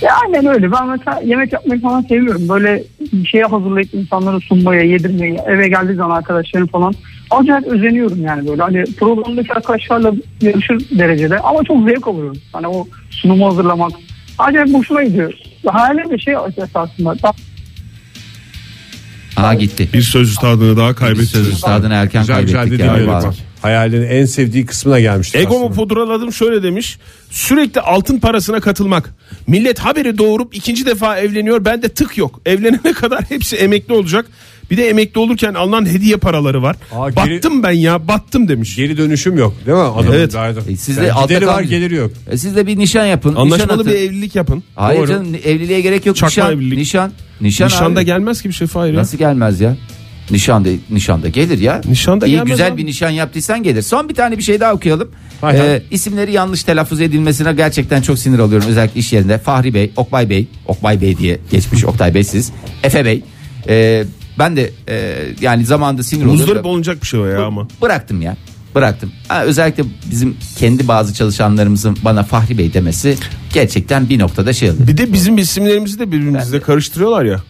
Ya aynen öyle. Ben mesela yemek yapmayı falan seviyorum. Böyle bir şeye hazırlayıp insanlara sunmaya, yedirmeye, eve geldiği zaman arkadaşlarım falan. Acayip özeniyorum yani böyle. Hani programdaki arkadaşlarla yarışır derecede. Ama çok zevk alıyorum. Hani o sunumu hazırlamak. Acayip hoşuma gidiyor. Hayali bir şey esasında. Tam- Aa gitti. Bir söz üstadını daha Biz söz kaybettiniz. üstadını erken kaybettik ya. dinliyorum vallahi. bak. Hayalin en sevdiği kısmına gelmiştik Egomu aslında. pudraladım şöyle demiş. Sürekli altın parasına katılmak. Millet haberi doğurup ikinci defa evleniyor. Bende tık yok. Evlenene kadar hepsi emekli olacak. Bir de emekli olurken alınan hediye paraları var. Aa, geri- battım ben ya battım demiş. Geri dönüşüm yok değil mi? Adamın Evet. derdi. E, siz de Yani altta gideri var kalmayın. geliri yok. E siz de bir nişan yapın. nişan Anlaşmalı atın. bir evlilik yapın. Hayır Doğru. canım evliliğe gerek yok. Çakma nişan, evlilik. nişan. Nişan Nişanda abi. gelmez ki bir şey Fahir ya. Nasıl gelmez ya? Nişanda nişanda gelir ya. Nişanda İyi gelmez güzel abi. bir nişan yaptıysan gelir. Son bir tane bir şey daha okuyalım. Hay hay. Ee, isimleri yanlış telaffuz edilmesine gerçekten çok sinir alıyorum özellikle iş yerinde. Fahri Bey, Okbay Bey, Okbay Bey diye geçmiş Oktay Bey siz. Efe Bey. Ee, ben de e, yani zamanında sinir oluyorum. Muzdarip da- olunacak bir şey o ya ama. Bıraktım ya. Bıraktım. Ha, özellikle bizim kendi bazı çalışanlarımızın bana Fahri Bey demesi gerçekten bir noktada şey oluyor. Bir de bizim isimlerimizi de birbirimizle karıştırıyorlar ya.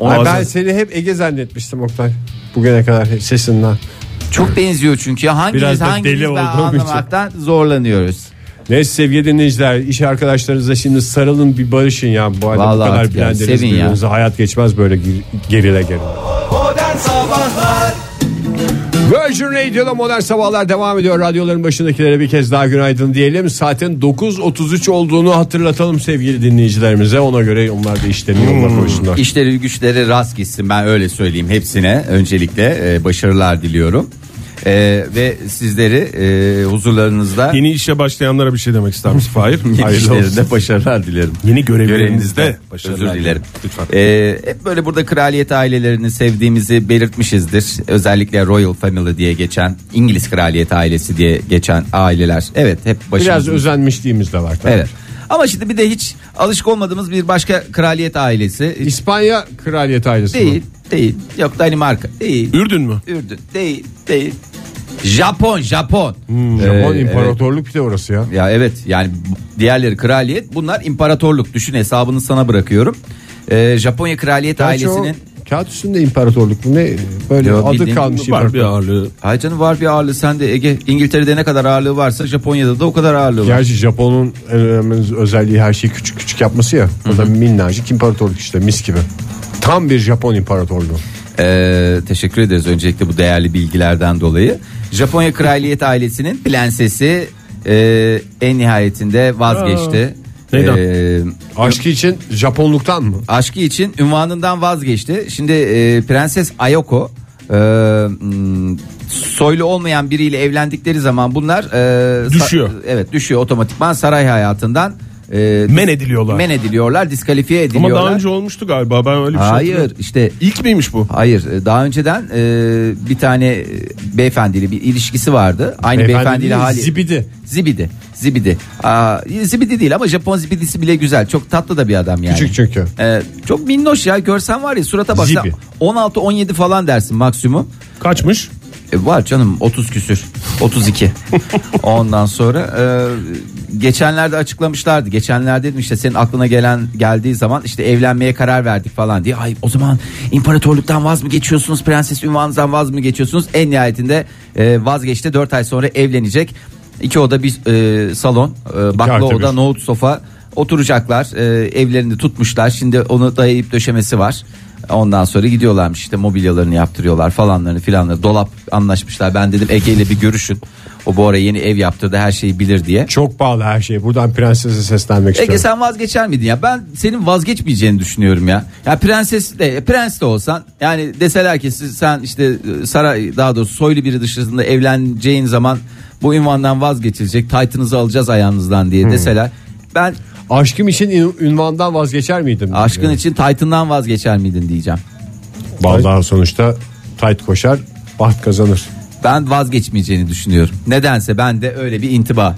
Ay, ben Ağzı- seni hep Ege zannetmiştim Oktay. Bugüne kadar hep sesinden. Çok benziyor çünkü. Hangimiz Biraz da hangimiz deli ben olduğum için. anlamaktan zorlanıyoruz. Neyse sevgili dinleyiciler iş arkadaşlarınızla şimdi sarılın bir barışın ya. Bu halde bu Vallahi kadar artık yani, bilendiniz sevin ya. birbirinize. Hayat geçmez böyle gir- gerile gerile. Virgin Radio'da Modern Sabahlar devam ediyor. Radyoların başındakilere bir kez daha günaydın diyelim. Saatin 9.33 olduğunu hatırlatalım sevgili dinleyicilerimize. Ona göre onlar da işlerini Hmm. yoluna koysunlar. İşleri güçleri rast gitsin ben öyle söyleyeyim hepsine öncelikle e, başarılar diliyorum. E, ve sizleri e, huzurlarınızda (laughs) Yeni işe başlayanlara bir şey demek ister misin Fahir? yeni Hayırlı olsun. işlerinde başarılar dilerim. Yeni görevinizde Görevinizde başarılar özür dilerim. Lütfen. E, hep böyle burada kraliyet ailelerini sevdiğimizi belirtmişizdir. Özellikle Royal Family diye geçen İngiliz kraliyet ailesi diye geçen aileler. Evet hep Biraz başımızın özenmişliğimiz de var. tabii. Evet. Ama şimdi bir de hiç alışık olmadığımız bir başka kraliyet ailesi. Hiç İspanya kraliyet ailesi mi? değil, değil. Yok Danimarka. Değil. Ürdün mü? Ürdün. Değil, değil. Japon, Japon. Hmm, Japon Ee, imparatorluk bir de orası ya. evet. Ya evet yani bu- diğerleri kraliyet bunlar imparatorluk. Düşün hesabını sana bırakıyorum. Ee, Japonya kraliyet Gerçi o ailesinin kağıt üstünde imparatorluk mu ne böyle Yo, adı bildiğin kalmış Var bir imparatorluk. ağırlığı. Ay canım var bir ağırlığı sen de Ege İngiltere'de ne kadar ağırlığı varsa Japonya'da da o kadar ağırlığı var. Gerçi Japon'un en önemli özelliği her şeyi küçük küçük yapması ya. O da minnacık imparatorluk işte mis gibi. Tam bir Japon imparatorluğu. Ee, teşekkür ederiz öncelikle bu değerli bilgilerden dolayı. Japonya kraliyet ailesinin prensesi e, en nihayetinde vazgeçti. neyden? Ee, Aşkı için Japonluktan mı? aşkı için ünvanından vazgeçti. Şimdi e, Prenses Ayoko e, m, soylu olmayan biriyle evlendikleri zaman bunlar e, sa- Düşüyor. evet düşüyor otomatikman saray hayatından e, Men ediliyorlar. men ediliyorlar, diskalifiye Ama ediliyorlar. daha önce olmuştu galiba ben öyle bir şey Hayır hatırlıyorum. işte İlk miymiş bu? Hayır e, daha önceden e, bir tane e, beyefendiyle bir ilişkisi vardı. Aynı Beyefendi beyefendiyle değil, hali. zibidi. Zibidi. Zibidi. Aa, zibidi değil ama Japon zibidisi bile güzel. Çok tatlı da bir adam yani. Küçük çünkü. E, çok minnoş ya görsen var ya surata baksan Zibi. 16-17 falan dersin maksimum. Kaçmış? E, var canım 30 küsür (laughs) 32 ondan sonra e, geçenlerde açıklamışlardı geçenlerde dedim işte senin aklına gelen geldiği zaman işte evlenmeye karar verdik falan diye ay o zaman imparatorluktan vaz mı geçiyorsunuz prenses ünvanınızdan vaz mı geçiyorsunuz en nihayetinde e, vazgeçti 4 ay sonra evlenecek iki oda bir e, salon e, bakla artı bir. oda nohut sofa oturacaklar e, evlerini tutmuşlar şimdi onu dayayıp döşemesi var ondan sonra gidiyorlarmış işte mobilyalarını yaptırıyorlar falanlarını filanları dolap anlaşmışlar ben dedim Ege ile bir görüşün o bu ara yeni ev yaptırdı her şeyi bilir diye Çok pahalı her şey. Buradan prensese seslenmek istiyorum. Ege sen vazgeçer miydin ya ben senin vazgeçmeyeceğini düşünüyorum ya ya prenses de prens de olsan yani deseler ki siz- sen işte e, saray daha doğrusu soylu biri dışında evleneceğin zaman bu ünvandan vazgeçilecek taytınızı alacağız ayağınızdan diye deseler ben Aşkım için ün- ünvandan vazgeçer miydim? Aşkın için Titan'dan vazgeçer miydin diyeceğim. Vallahi sonuçta tight koşar, baht kazanır. Ben vazgeçmeyeceğini düşünüyorum. Nedense ben de öyle bir intiba.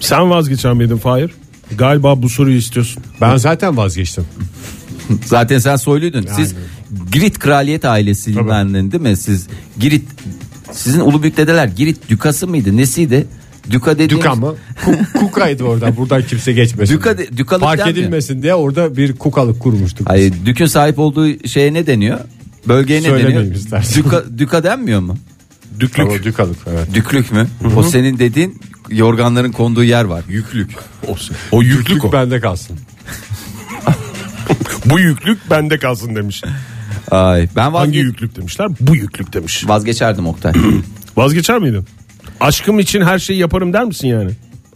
Sen vazgeçen miydin Fahir? Galiba bu soruyu istiyorsun. Ben zaten vazgeçtim. Zaten sen soyluydun. Siz Girit kraliyet ailesinden değil mi? Siz Girit sizin ulu büyük dedeler Girit dükası mıydı? Nesiydi? Düka dediğimiz Duka mı? Ku- kukaydı oradan. Buradan kimse geçmesin. Duka diye. de- dukalık Fark denmiyor. edilmesin diye orada bir kukalık kurmuştuk. biz. Hayır, dükün sahip olduğu şeye ne deniyor? Bölgeye ne Söylemeyeyim deniyor? istersen. Düka, düka denmiyor mu? Düklük. Ama dükalık evet. Düklük mü? O senin dediğin yorganların konduğu yer var. Yüklük. O yüklük o. bende kalsın. (laughs) Bu yüklük bende kalsın demiş. Ay, ben Hangi vazge- yüklük demişler? Bu yüklük demiş. vazgeçerdim (clears throat) Oktay. Vazgeçer miydin? Aşkım için her şeyi yaparım der misin yani?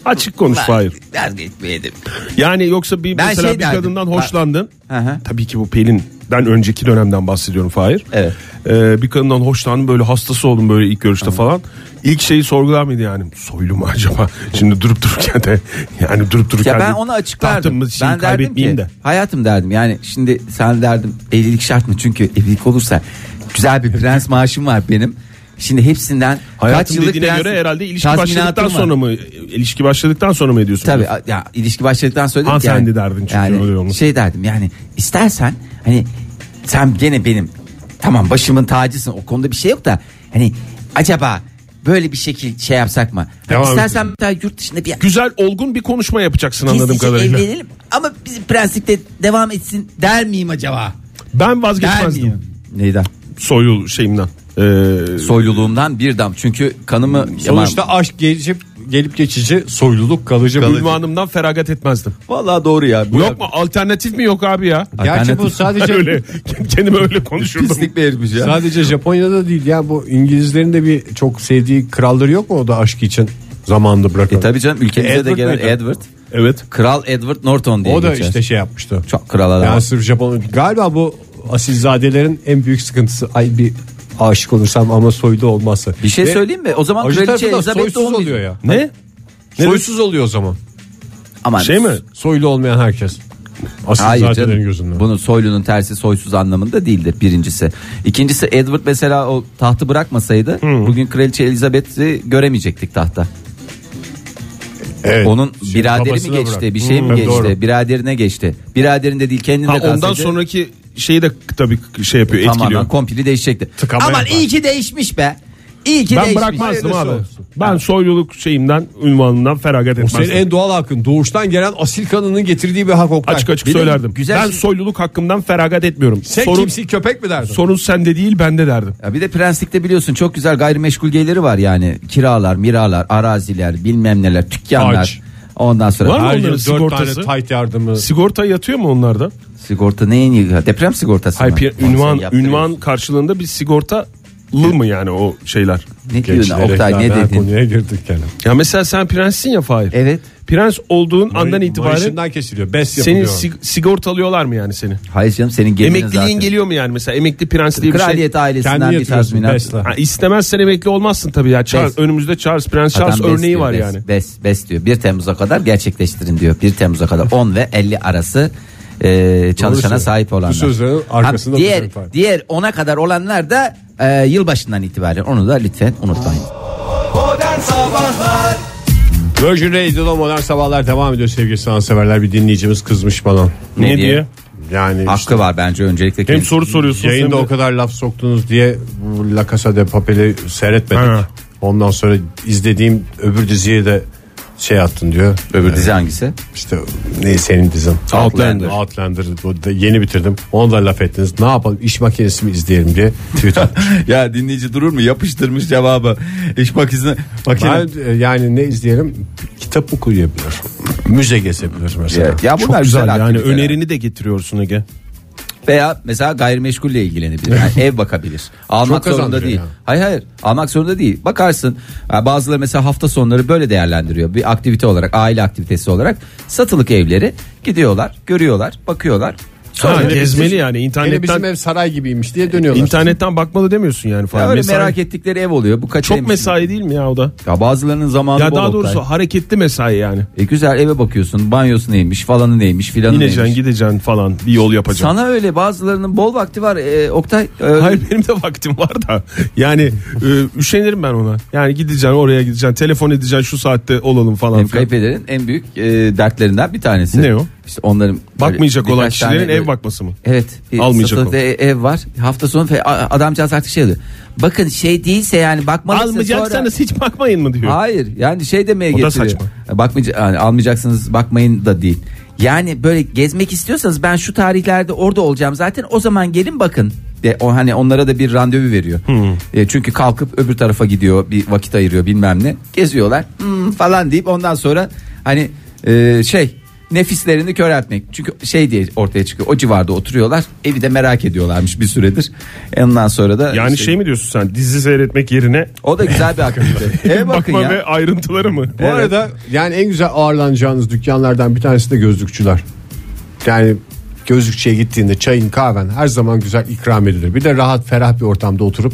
Açık konuş Fahir. Vazgeçmeyelim. Yani yoksa bir Ben mesela şey bir derdim. kadından Ben- hoşlandın. Hı hı. Tabii ki bu Pelin'den önceki dönemden bahsediyorum Fahir. Evet. Ee, bir kadından hoşlandım böyle hastası oldum böyle ilk görüşte falan. İlk şeyi sorgular mıydı yani? Soylu mu (laughs) acaba? Şimdi durup dururken de yani durup dururken Ya ben de onu açıklardım. tahtımı Ben şimdi derdim ki kaybetmeyeyim de. hayatım derdim yani şimdi sen derdim evlilik şart mı? Çünkü evlilik olursa güzel bir (laughs) prens maaşım var benim. Şimdi hepsinden kaç Hayatım yıllık dediğine prens- göre herhalde ilişki tazminatım başladıktan var. sonra mı? ilişki başladıktan sonra mı ediyorsun? Tabii a- ya ilişki başladıktan sonra dedim ki Hanımefendi derdin çünkü öyle yani olmuş. şey derdim yani istersen hani sen gene benim tamam başımın tacısın o konuda bir şey yok da hani acaba böyle bir şekil şey yapsak mı? Hani Devam istersen bir daha yurt dışında bir Güzel olgun bir konuşma yapacaksın anladığım Kesinlikle kadarıyla. evlenelim ama bizim prenslikte devam etsin der miyim acaba? Ben Der vazgeçmezdim. miyim? Neyden? Soylu şeyimden. Ee, Soyluluğumdan bir dam çünkü kanımı Sonuçta aşk gelip gelip geçici, soyluluk kalıcı. bir ünvan. ünvanımdan feragat etmezdim. Vallahi doğru ya. Bu Yok mu? Alternatif mi yok (laughs) abi ya? Gerçi bu sadece (laughs) öyle kendime öyle konuşurdum. pislik bir herifmiş ya. sadece Japonya'da değil. Yani bu İngilizlerin de bir çok sevdiği kralları yok mu o da aşk için zamanında bırakan? E tabii canım ülkemize de Edward gelen muydu? Edward. Evet. Kral Edward Norton diye o da geçer. işte şey yapmıştı. Çok kral adam. Yani sırf Japon. Galiba bu asilzadelerin en büyük sıkıntısı. Ay bir aşık olursam ama soylu olmazsa. bir şey Ve söyleyeyim mi? O zaman acı kraliçe tarafı da Elizabeth de soysuz olmuyor. oluyor ya. Ne? Soysuz oluyor o zaman. Aman. Şey mi? Soylu olmayan herkes. Hayır Asilzadelerin canım. gözünde. Bunun soylunun tersi soysuz anlamında değildir birincisi. İkincisi Edward mesela o tahtı bırakmasaydı bugün kraliçe Elizabeth'i göremeyecektik tahta. Evet. Onun biraderi mi babasına geçti bırak. bir şey mi Hmm, geçti doğru. biraderine geçti. Biraderinde değil kendinde Ha, ondan kalsaydı sonraki şeyi de tabii şey yapıyor tamamen etkiliyor. komple değişecekti. Tıkamaya Aman bak. iyi ki değişmiş be. İyi ki Ben değişmiş. bırakmazdım abi. Hayırlısı olsun. Ben soyluluk şeyimden ünvanından feragat O senin etmezdim. en doğal hakkın. Doğuştan gelen asil kanının getirdiği bir hak Oktay. Açık açık Bir de söylerdim. güzel ben şey- soyluluk hakkımdan feragat etmiyorum. Sen sorun, kimsin köpek mi derdin? sorun sende değil bende derdim. Ya bir de prenslikte biliyorsun çok güzel gayrimeşgul geliri var yani. Kiralar, miralar, araziler, bilmem neler, dükkanlar. Haç. Ondan sonra Var mı? Her yıl Onların dört sigortası. tane tight yardımı. Sigorta yatıyor mu onlarda? sigorta neyin yığı? Deprem sigortası Hayır mı? bir Onu sen ünvan yaptırıyorsun. ünvan karşılığında bir sigorta mı yani o şeyler? Ne diyorsun Gençlere Oktay ne hitap eden dedin? Konuya girdik yani. Ya mesela sen prenssin ya Fahir. Evet. Prens olduğun andan itibaren Maaşından kesiliyor. Bes seni yapılıyor. sig- sigortalıyorlar mı yani seni? Hayır canım senin gelinin Emekliliğin zaten. geliyor mu yani mesela emekli prens diye bir şey? Kraliyet ailesinden Kendi bir yatıyorsun tazminat. besle. Ha, istemezsen emekli olmazsın tabii ya. Charles, Bes. önümüzde Charles Prens Adam Charles bes örneği diyor, var bes, yani. Bes, bes diyor. 1 Temmuz'a kadar gerçekleştirin diyor. 1 Temmuz'a kadar 10 ve 50 arası e, çalışana söylüyor. sahip olanlar. Bu sözlerin arkasında Ha, bu diğer, söz var. diğer 10'a kadar olanlar da e, yılbaşından itibaren onu da lütfen unutmayın. Virgin Radio'da modern sabahlar devam ediyor sevgili sanatseverler. Bir dinleyicimiz kızmış bana. Ne, Ne diye? diye? Yani işte Hakkı var bence öncelikle. Hem kendisi. soru soruyorsun. hem yayında de- o kadar laf soktunuz diye bu La Casa de Papel'i seyretmedik. Ha. Ondan sonra izlediğim öbür diziye de şey attın diyor. Öbür dizi hangisi? İşte ne senin dizin? Outlander. Outlander. Bu da yeni bitirdim. Onu da laf ettiniz. Ne yapalım iş makinesi mi izleyelim diye tweet (laughs) atmış. (laughs) Ya dinleyici durur mu? Yapıştırmış cevabı. İş makinesine. ben, e, yani ne izleyelim? Kitap okuyabilir. Müze gezebilir mesela. Ya, ya bunlar Çok güzel, yani aktiviteler. önerini de getiriyorsun Ege. Veya mesela gayrimeşgulle ilgilenebilir. (laughs) Yani ev bakabilir. Almak Çok zorunda değil. kazandırıyor Hayır hayır. Almak zorunda değil. Bakarsın. Ha, Bazıları mesela hafta sonları böyle değerlendiriyor. Bir aktivite olarak, aile aktivitesi olarak satılık evleri gidiyorlar, görüyorlar, bakıyorlar. Sonra Ha, bir- gezmeli yani Gene bizim internetten ev saray gibiymiş diye dönüyorlar. internetten bakmalı demiyorsun yani Ya falan. öyle Mesai- merak ettikleri ev oluyor. Bu kaç çok evmiş? mesai değil mi ya o da? Ya bazılarının zamanı ya bol daha doğrusu Oktay. hareketli mesai yani. E güzel eve bakıyorsun. Banyosu neymiş, falanı neymiş, filanı İneceksin neymiş. gideceksin falan bir yol yapacaksın. Sana öyle bazılarının bol vakti var. E, Oktay e, Hayır benim de vaktim var da. Yani e, üşenirim ben ona. Yani gideceksin oraya gideceksin. Telefon edeceksin şu saatte olalım falan Hem filan. kayınpederin en büyük e, dertlerinden bir tanesi. Ne o? İşte onların Bakmayacak böyle olan birkaç kişilerin tane ev böyle- bakması mı? Evet. Bir Almayacak satılık olan. ev, ev var. Hafta sonu fe- a- adamcağız artık şey diyor. Bakın şey değilse yani bakmalısınız Almayacaksanız hiç bakmayın mı diyor. sonra. Hayır yani şey demeye O da getiriyor. saçma. Bakmayacak yani almayacaksınız bakmayın da değil. Yani böyle gezmek istiyorsanız ben şu tarihlerde orada olacağım zaten o zaman gelin bakın. De, o hani onlara da bir randevu veriyor. Hmm. E, çünkü kalkıp öbür tarafa gidiyor, bir vakit ayırıyor bilmem ne. Geziyorlar "Hmm," falan deyip ondan sonra hani e, şey nefislerini köreltmek. Çünkü şey diye ortaya çıkıyor. O civarda oturuyorlar. Evi de merak ediyorlarmış bir süredir. E, Ondan sonra da Yani işte- şey mi diyorsun sen dizi seyretmek yerine o da güzel bir (laughs) aktivite. Eve E, bakın bakma ya. ve ayrıntıları mı? Bu arada yani en güzel ağırlanacağınız dükkanlardan bir tanesi de gözlükçüler. Yani gözlükçüye gittiğinde çayın kahven her zaman güzel ikram edilir. Bir de rahat ferah bir ortamda oturup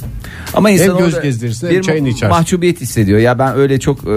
Ama insan Hem göz orada gezdirirsin, bir hem çayını içersin. Mahcubiyet hissediyor. Ya ben öyle çok e,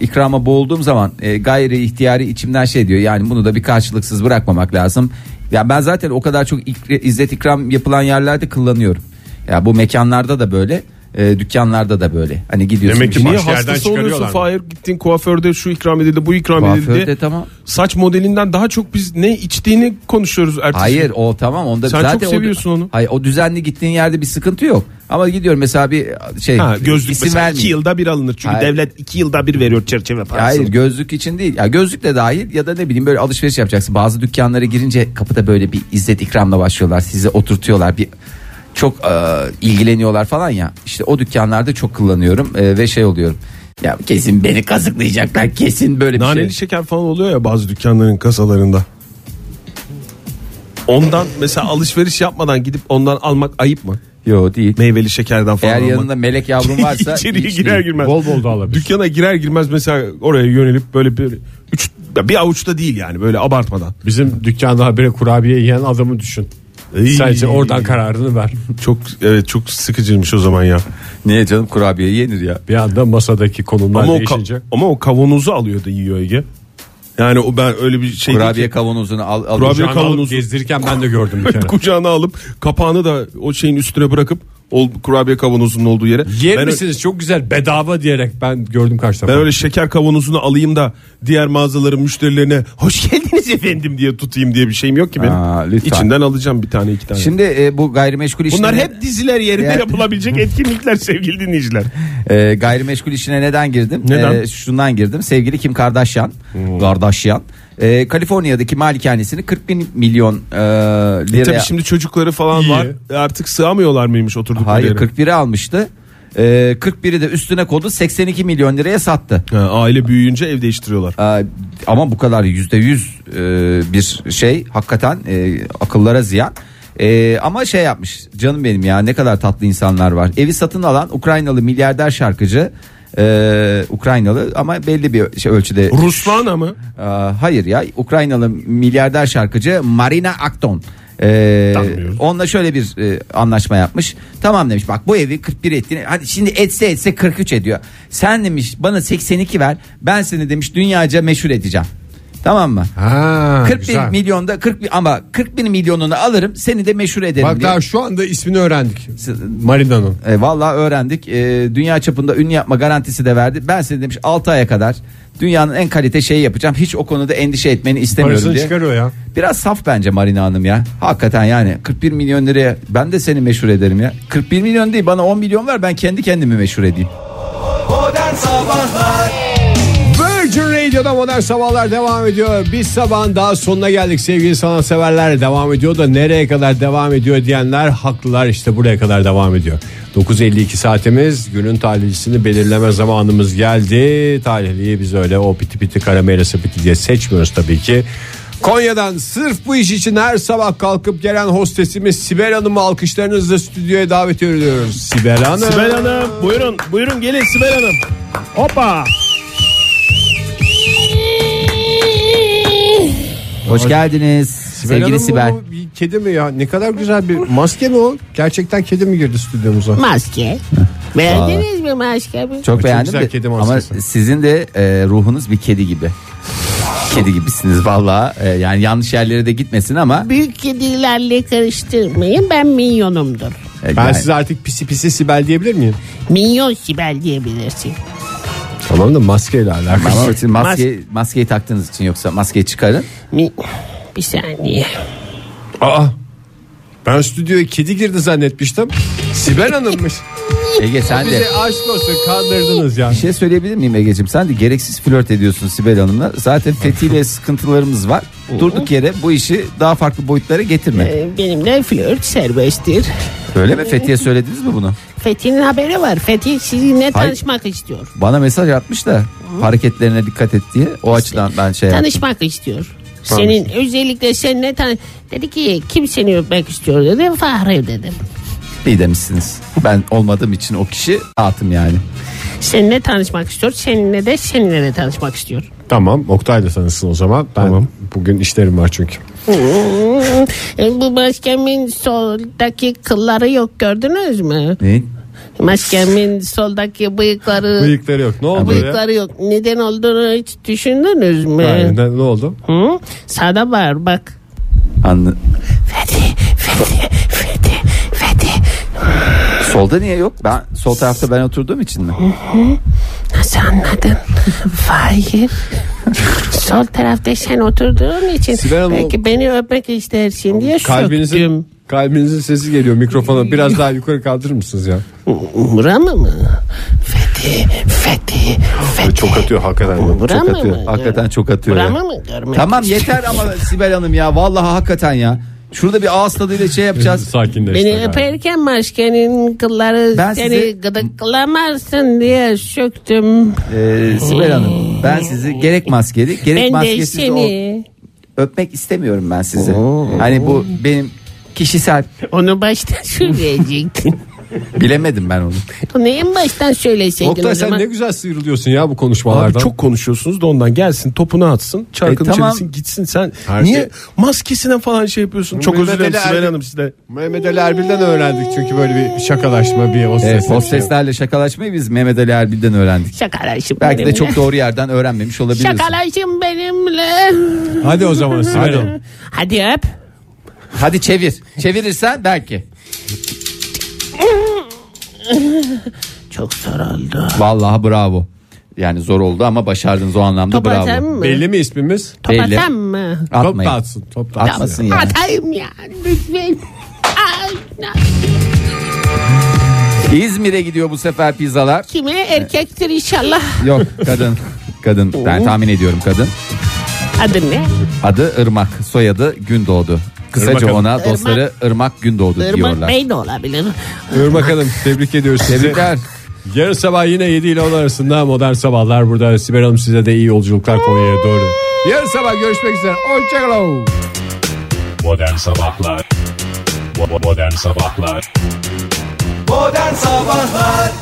ikrama boğulduğum zaman e, gayri ihtiyari içimden şey diyor. Yani bunu da bir karşılıksız bırakmamak lazım. Ya ben zaten o kadar çok ikra- izzet ikram yapılan yerlerde kullanıyorum. Ya bu mekanlarda da böyle, e, dükkanlarda da böyle. Hani gidiyorsun. Demek ki bir- Niye Başka yerden hastası oluyorsun çıkarıyorlar mı? Fahir gittin kuaförde şu ikram edildi bu ikram edildi. şey- Kuaförde tamam. Saç modelinden daha çok biz ne içtiğini konuşuyoruz ertesi Hayır o tamam onda Sen zaten çok o- seviyorsun onu. Hayır o düzenli gittiğin yerde bir sıkıntı yok. Ama gidiyorum mesela bir şey Ha, gözlük isim mesela iki vermeyeyim. yılda bir alınır. Çünkü Hayır. devlet iki yılda bir veriyor çerçeve Ya parasını. Hayır gözlük için değil. Ya gözlük de dahil ya da ne bileyim böyle alışveriş yapacaksın. Bazı dükkanlara girince kapıda böyle bir izzet ikramla başlıyorlar. Sizi oturtuyorlar. Bir çok e, ilgileniyorlar falan ya. İşte o dükkanlarda çok kullanıyorum e, ve şey oluyorum. Ya kesin beni kazıklayacaklar. Kesin böyle bir Naneli şey. şeker falan oluyor ya bazı dükkanların kasalarında. Ondan mesela alışveriş yapmadan gidip ondan almak ayıp mı? Yo değil. Meyveli şekerden falan Eğer almak. yanında melek (laughs) yavrum varsa İçeriye hiç girer değil. girmez. Bol bol da alabilir. Dükkana girer girmez mesela oraya yönelip böyle bir üç bir avuçta değil yani böyle abartmadan. bizim dükkanda habire kurabiye yiyen adamı düşün. Sadece oradan kararını ver. Çok evet çok sıkıcıymış o zaman ya. Niye canım kurabiye yenir ya. Bir anda masadaki konumlar Ama o, ka- değişince. ama o kavanozu alıyordu yiyor Ege. Yani o ben öyle bir şey değil Kurabiye ki, kavanozunu al, al Kurabiye Kucağına alıp kavanozu. gezdirirken ben de gördüm bir kere. (laughs) kucağına alıp kapağını da o şeyin üstüne bırakıp ol, kurabiye kavanozunun olduğu yere. (laughs) Yer ben, ö- misiniz çok güzel bedava diyerek ben gördüm kaç defa. ben öyle şeker kavanozunu alayım da diğer mağazaların müşterilerine hoş geldiniz efendim diye tutayım diye bir şeyim yok ki benim. Aa, lütfen. İçinden alacağım bir tane iki tane. Şimdi e, bu gayrimeşgul işleri... Bunlar hep diziler yerine Yani- yapılabilecek etkinlikler (laughs) sevgili dinleyiciler. E, gayrimeşgul işine neden girdim? Neden? Hmm. E, şundan girdim. Sevgili Kim Kardashian, Kardashian e, Kaliforniya'daki malikanesini 40 bin milyon e, liraya... Tabii şimdi çocukları falan İyi. var. E, Artık sığamıyorlar mıymış oturdukları Hayır yere? 41'i almıştı. E, 41'i de üstüne kodu 82 milyon liraya sattı. Ha, aile büyüyünce ev değiştiriyorlar. E, ama bu kadar %100 e, bir şey hakikaten e, akıllara ziyan. Ee, ama şey yapmış canım benim ya ne kadar tatlı insanlar var. Evi satın alan Ukraynalı milyarder şarkıcı ee, Ukraynalı ama belli bir şey ölçüde Ruslana mı? Ee, hayır ya Ukraynalı milyarder şarkıcı Marina Akton. Ee, Tanımıyorum. onunla şöyle bir e, anlaşma yapmış. Tamam demiş bak bu evi 41 ettiğini hadi şimdi etse etse 43 ediyor. Sen demiş bana 82 ver ben seni demiş dünyaca meşhur edeceğim. Tamam mı? Ha, 41 güzel. milyonda 40 bir- ama 41 milyonunu alırım seni de meşhur ederim Bak diye. daha şu anda ismini öğrendik. S- Marina'nın. E, vallahi öğrendik. E, dünya çapında ün yapma garantisi de verdi. Ben seni demiş 6 aya kadar dünyanın en kalite şeyi yapacağım. Hiç o konuda endişe etmeni istemiyorum Parasını diye. çıkarıyor ya. Biraz saf bence Marina Hanım ya. Hakikaten yani 41 milyon liraya ben de seni meşhur ederim ya. 41 milyon değil bana 10 milyon ver ben kendi kendimi meşhur edeyim. Virgin Radio'da modern sabahlar devam ediyor. Biz sabahın daha sonuna geldik sevgili sanatseverler. Devam ediyor da nereye kadar devam ediyor diyenler haklılar işte buraya kadar devam ediyor. 9.52 saatimiz günün talihlisini belirleme zamanımız geldi. Talihliyi biz öyle o piti piti karamela sepeti diye seçmiyoruz tabii ki. Konya'dan sırf bu iş için her sabah kalkıp gelen hostesimiz Sibel Hanım'ı alkışlarınızla stüdyoya davet ediyoruz. Sibel Hanım. Sibel Hanım buyurun buyurun gelin Sibel Hanım. Hoppa. Hoş geldiniz sevgili Hanım Sibel. bu bir kedi mi ya? Ne kadar güzel bir maske mi o? Gerçekten kedi mi girdi stüdyomuza? Maske. Beğendiniz mi maskemi? Çok beğendim güzel de- kedi ama maskesi. sizin de e, ruhunuz bir kedi gibi. Kedi gibisiniz vallahi E, yani yanlış yerlere de gitmesin ama Büyük kedilerle karıştırmayın ben minyonumdur. e, Ben yani- size artık pisi pisi Sibel diyebilir miyim? Minyon Sibel diyebilirsin. Tamam da maskeyle alakalı. Ama siz maske, maskeyi taktığınız için yoksa maskeyi çıkarın. Mi- bir saniye. Aa, ben stüdyoya kedi girdi zannetmiştim. Sibel Hanım'mış. Ege sen de. Bizi aşk olsun kandırdınız ya. Bir şey söyleyebilir miyim Ege'cim? Sen de gereksiz flört ediyorsun Sibel Hanım'la. Zaten Fethi ile sıkıntılarımız var. Durduk yere bu işi daha farklı boyutlara getirme. Ee, Benimle flört serbesttir. Öyle mi? Fethi'ye söylediniz mi bunu? Fethi'nin haberi var. Fethi sizinle tanışmak istiyor. Bana mesaj atmış da hareketlerine dikkat et diye. O açıdan ben şey yaptım. Tanışmak istiyor. Senin özellikle seninle tan dedi ki kim seni öpmek istiyor dedi. Fahri dedim. İyi demişsiniz. Ben olmadığım için o kişi atım yani. Seninle tanışmak istiyor. Seninle de seninle de tanışmak istiyor. Tamam Oktay da tanısın o zaman. Ben Tamam. bugün işlerim var çünkü. E, bu maskemin soldaki kılları yok gördünüz mü? Ne? Maskemin soldaki bıyıkları Bıyıkları yok. Ne oldu ya? bıyıkları yok. Neden olduğunu hiç düşündünüz mü? Aynen, Ne, ne oldu? Hı? Sana var bak. Anlı... Fethi, Fethi, Fethi, Fethi. Solda niye yok? Ben sol tarafta ben oturduğum için mi? Nasıl (laughs) anladın? Hayır. Sol tarafta sen oturduğun için Sibel Hanım- belki beni öpmek istersin diye söktüm. Kalbinizin, kalbinizin sesi geliyor mikrofona. Biraz daha yukarı kaldırır mısınız ya? Buramı mı? Fethi, Fethi, Fethi. Çok atıyor hakikaten. Buramı Çok atıyor. mı? Hakikaten çok atıyor. ya. Buramı mı görmek? Tamam yeter ama Sibel Hanım ya. Vallahi hakikaten ya. Şurada bir ağız tadıyla şey (laughs) yapacağız. (laughs) Sakinleşti. Beni öperken maskenin kılları Ben seni size- gıdıklamazsın diye söktüm. Ee, Sibel Hanım ben sizi gerek maskeli gerek Ben de maskesiz ol- seni. öpmek istemiyorum ben sizi. Hani bu benim kişisel Onu baştan (laughs) söyleyecektin. bilemedim ben onu. Onu en baştan söyleseydin Oktay o sen zaman. ne güzel sıyrılıyorsun ya bu Abi konuşmalardan. çok konuşuyorsunuz da ondan gelsin topuna atsın çarkını E, tamam. çevirsin gitsin sen. Her Niye şey- maskesine falan şey yapıyorsun? Çok Mehmet özür dilerim Ali Sibel Erbil- Hanım size. Mehmet Ali Erbil'den öğrendik çünkü böyle bir şakalaşma bir şey. hostes. Evet, hosteslerle şakalaşmayı biz Mehmet Ali Erbil'den öğrendik. Şakalaşım Belki benimle. de çok doğru yerden öğrenmemiş olabiliriz. Şakalaşım benimle. Hadi o zaman Sibel Hanım. Hadi öp. Hadi çevir. Çevirirsen belki. Çok zor oldu. Vallahi bravo. Yani zor oldu ama başardınız o anlamda Top atayım bravo. mı? Belli mi ismimiz? Top Belli. atayım mı? Top da Atmayın. atsın. Top da atsın. Atmasın yani. Atayım ya lütfen. Ay, ay. İzmir'e gidiyor bu sefer pizzalar. Kime erkektir inşallah. Yok kadın. Kadın. Ben tahmin ediyorum kadın. Adı ne? Adı Irmak, soyadı Gündoğdu. Kısaca Irmak Hanım. ona dostları Irmak Gündoğdu Irmak diyorlar. Bey de olabilir. Irmak Hanım tebrik ediyoruz sizi. Tebrikler. Yarın sabah yine 7 ile 10 arasında modern sabahlar burada. Sibel Hanım size de iyi yolculuklar Konya'ya doğru. Yarın sabah görüşmek üzere. Hoşçakalın. Modern Sabahlar Modern Sabahlar Modern Sabahlar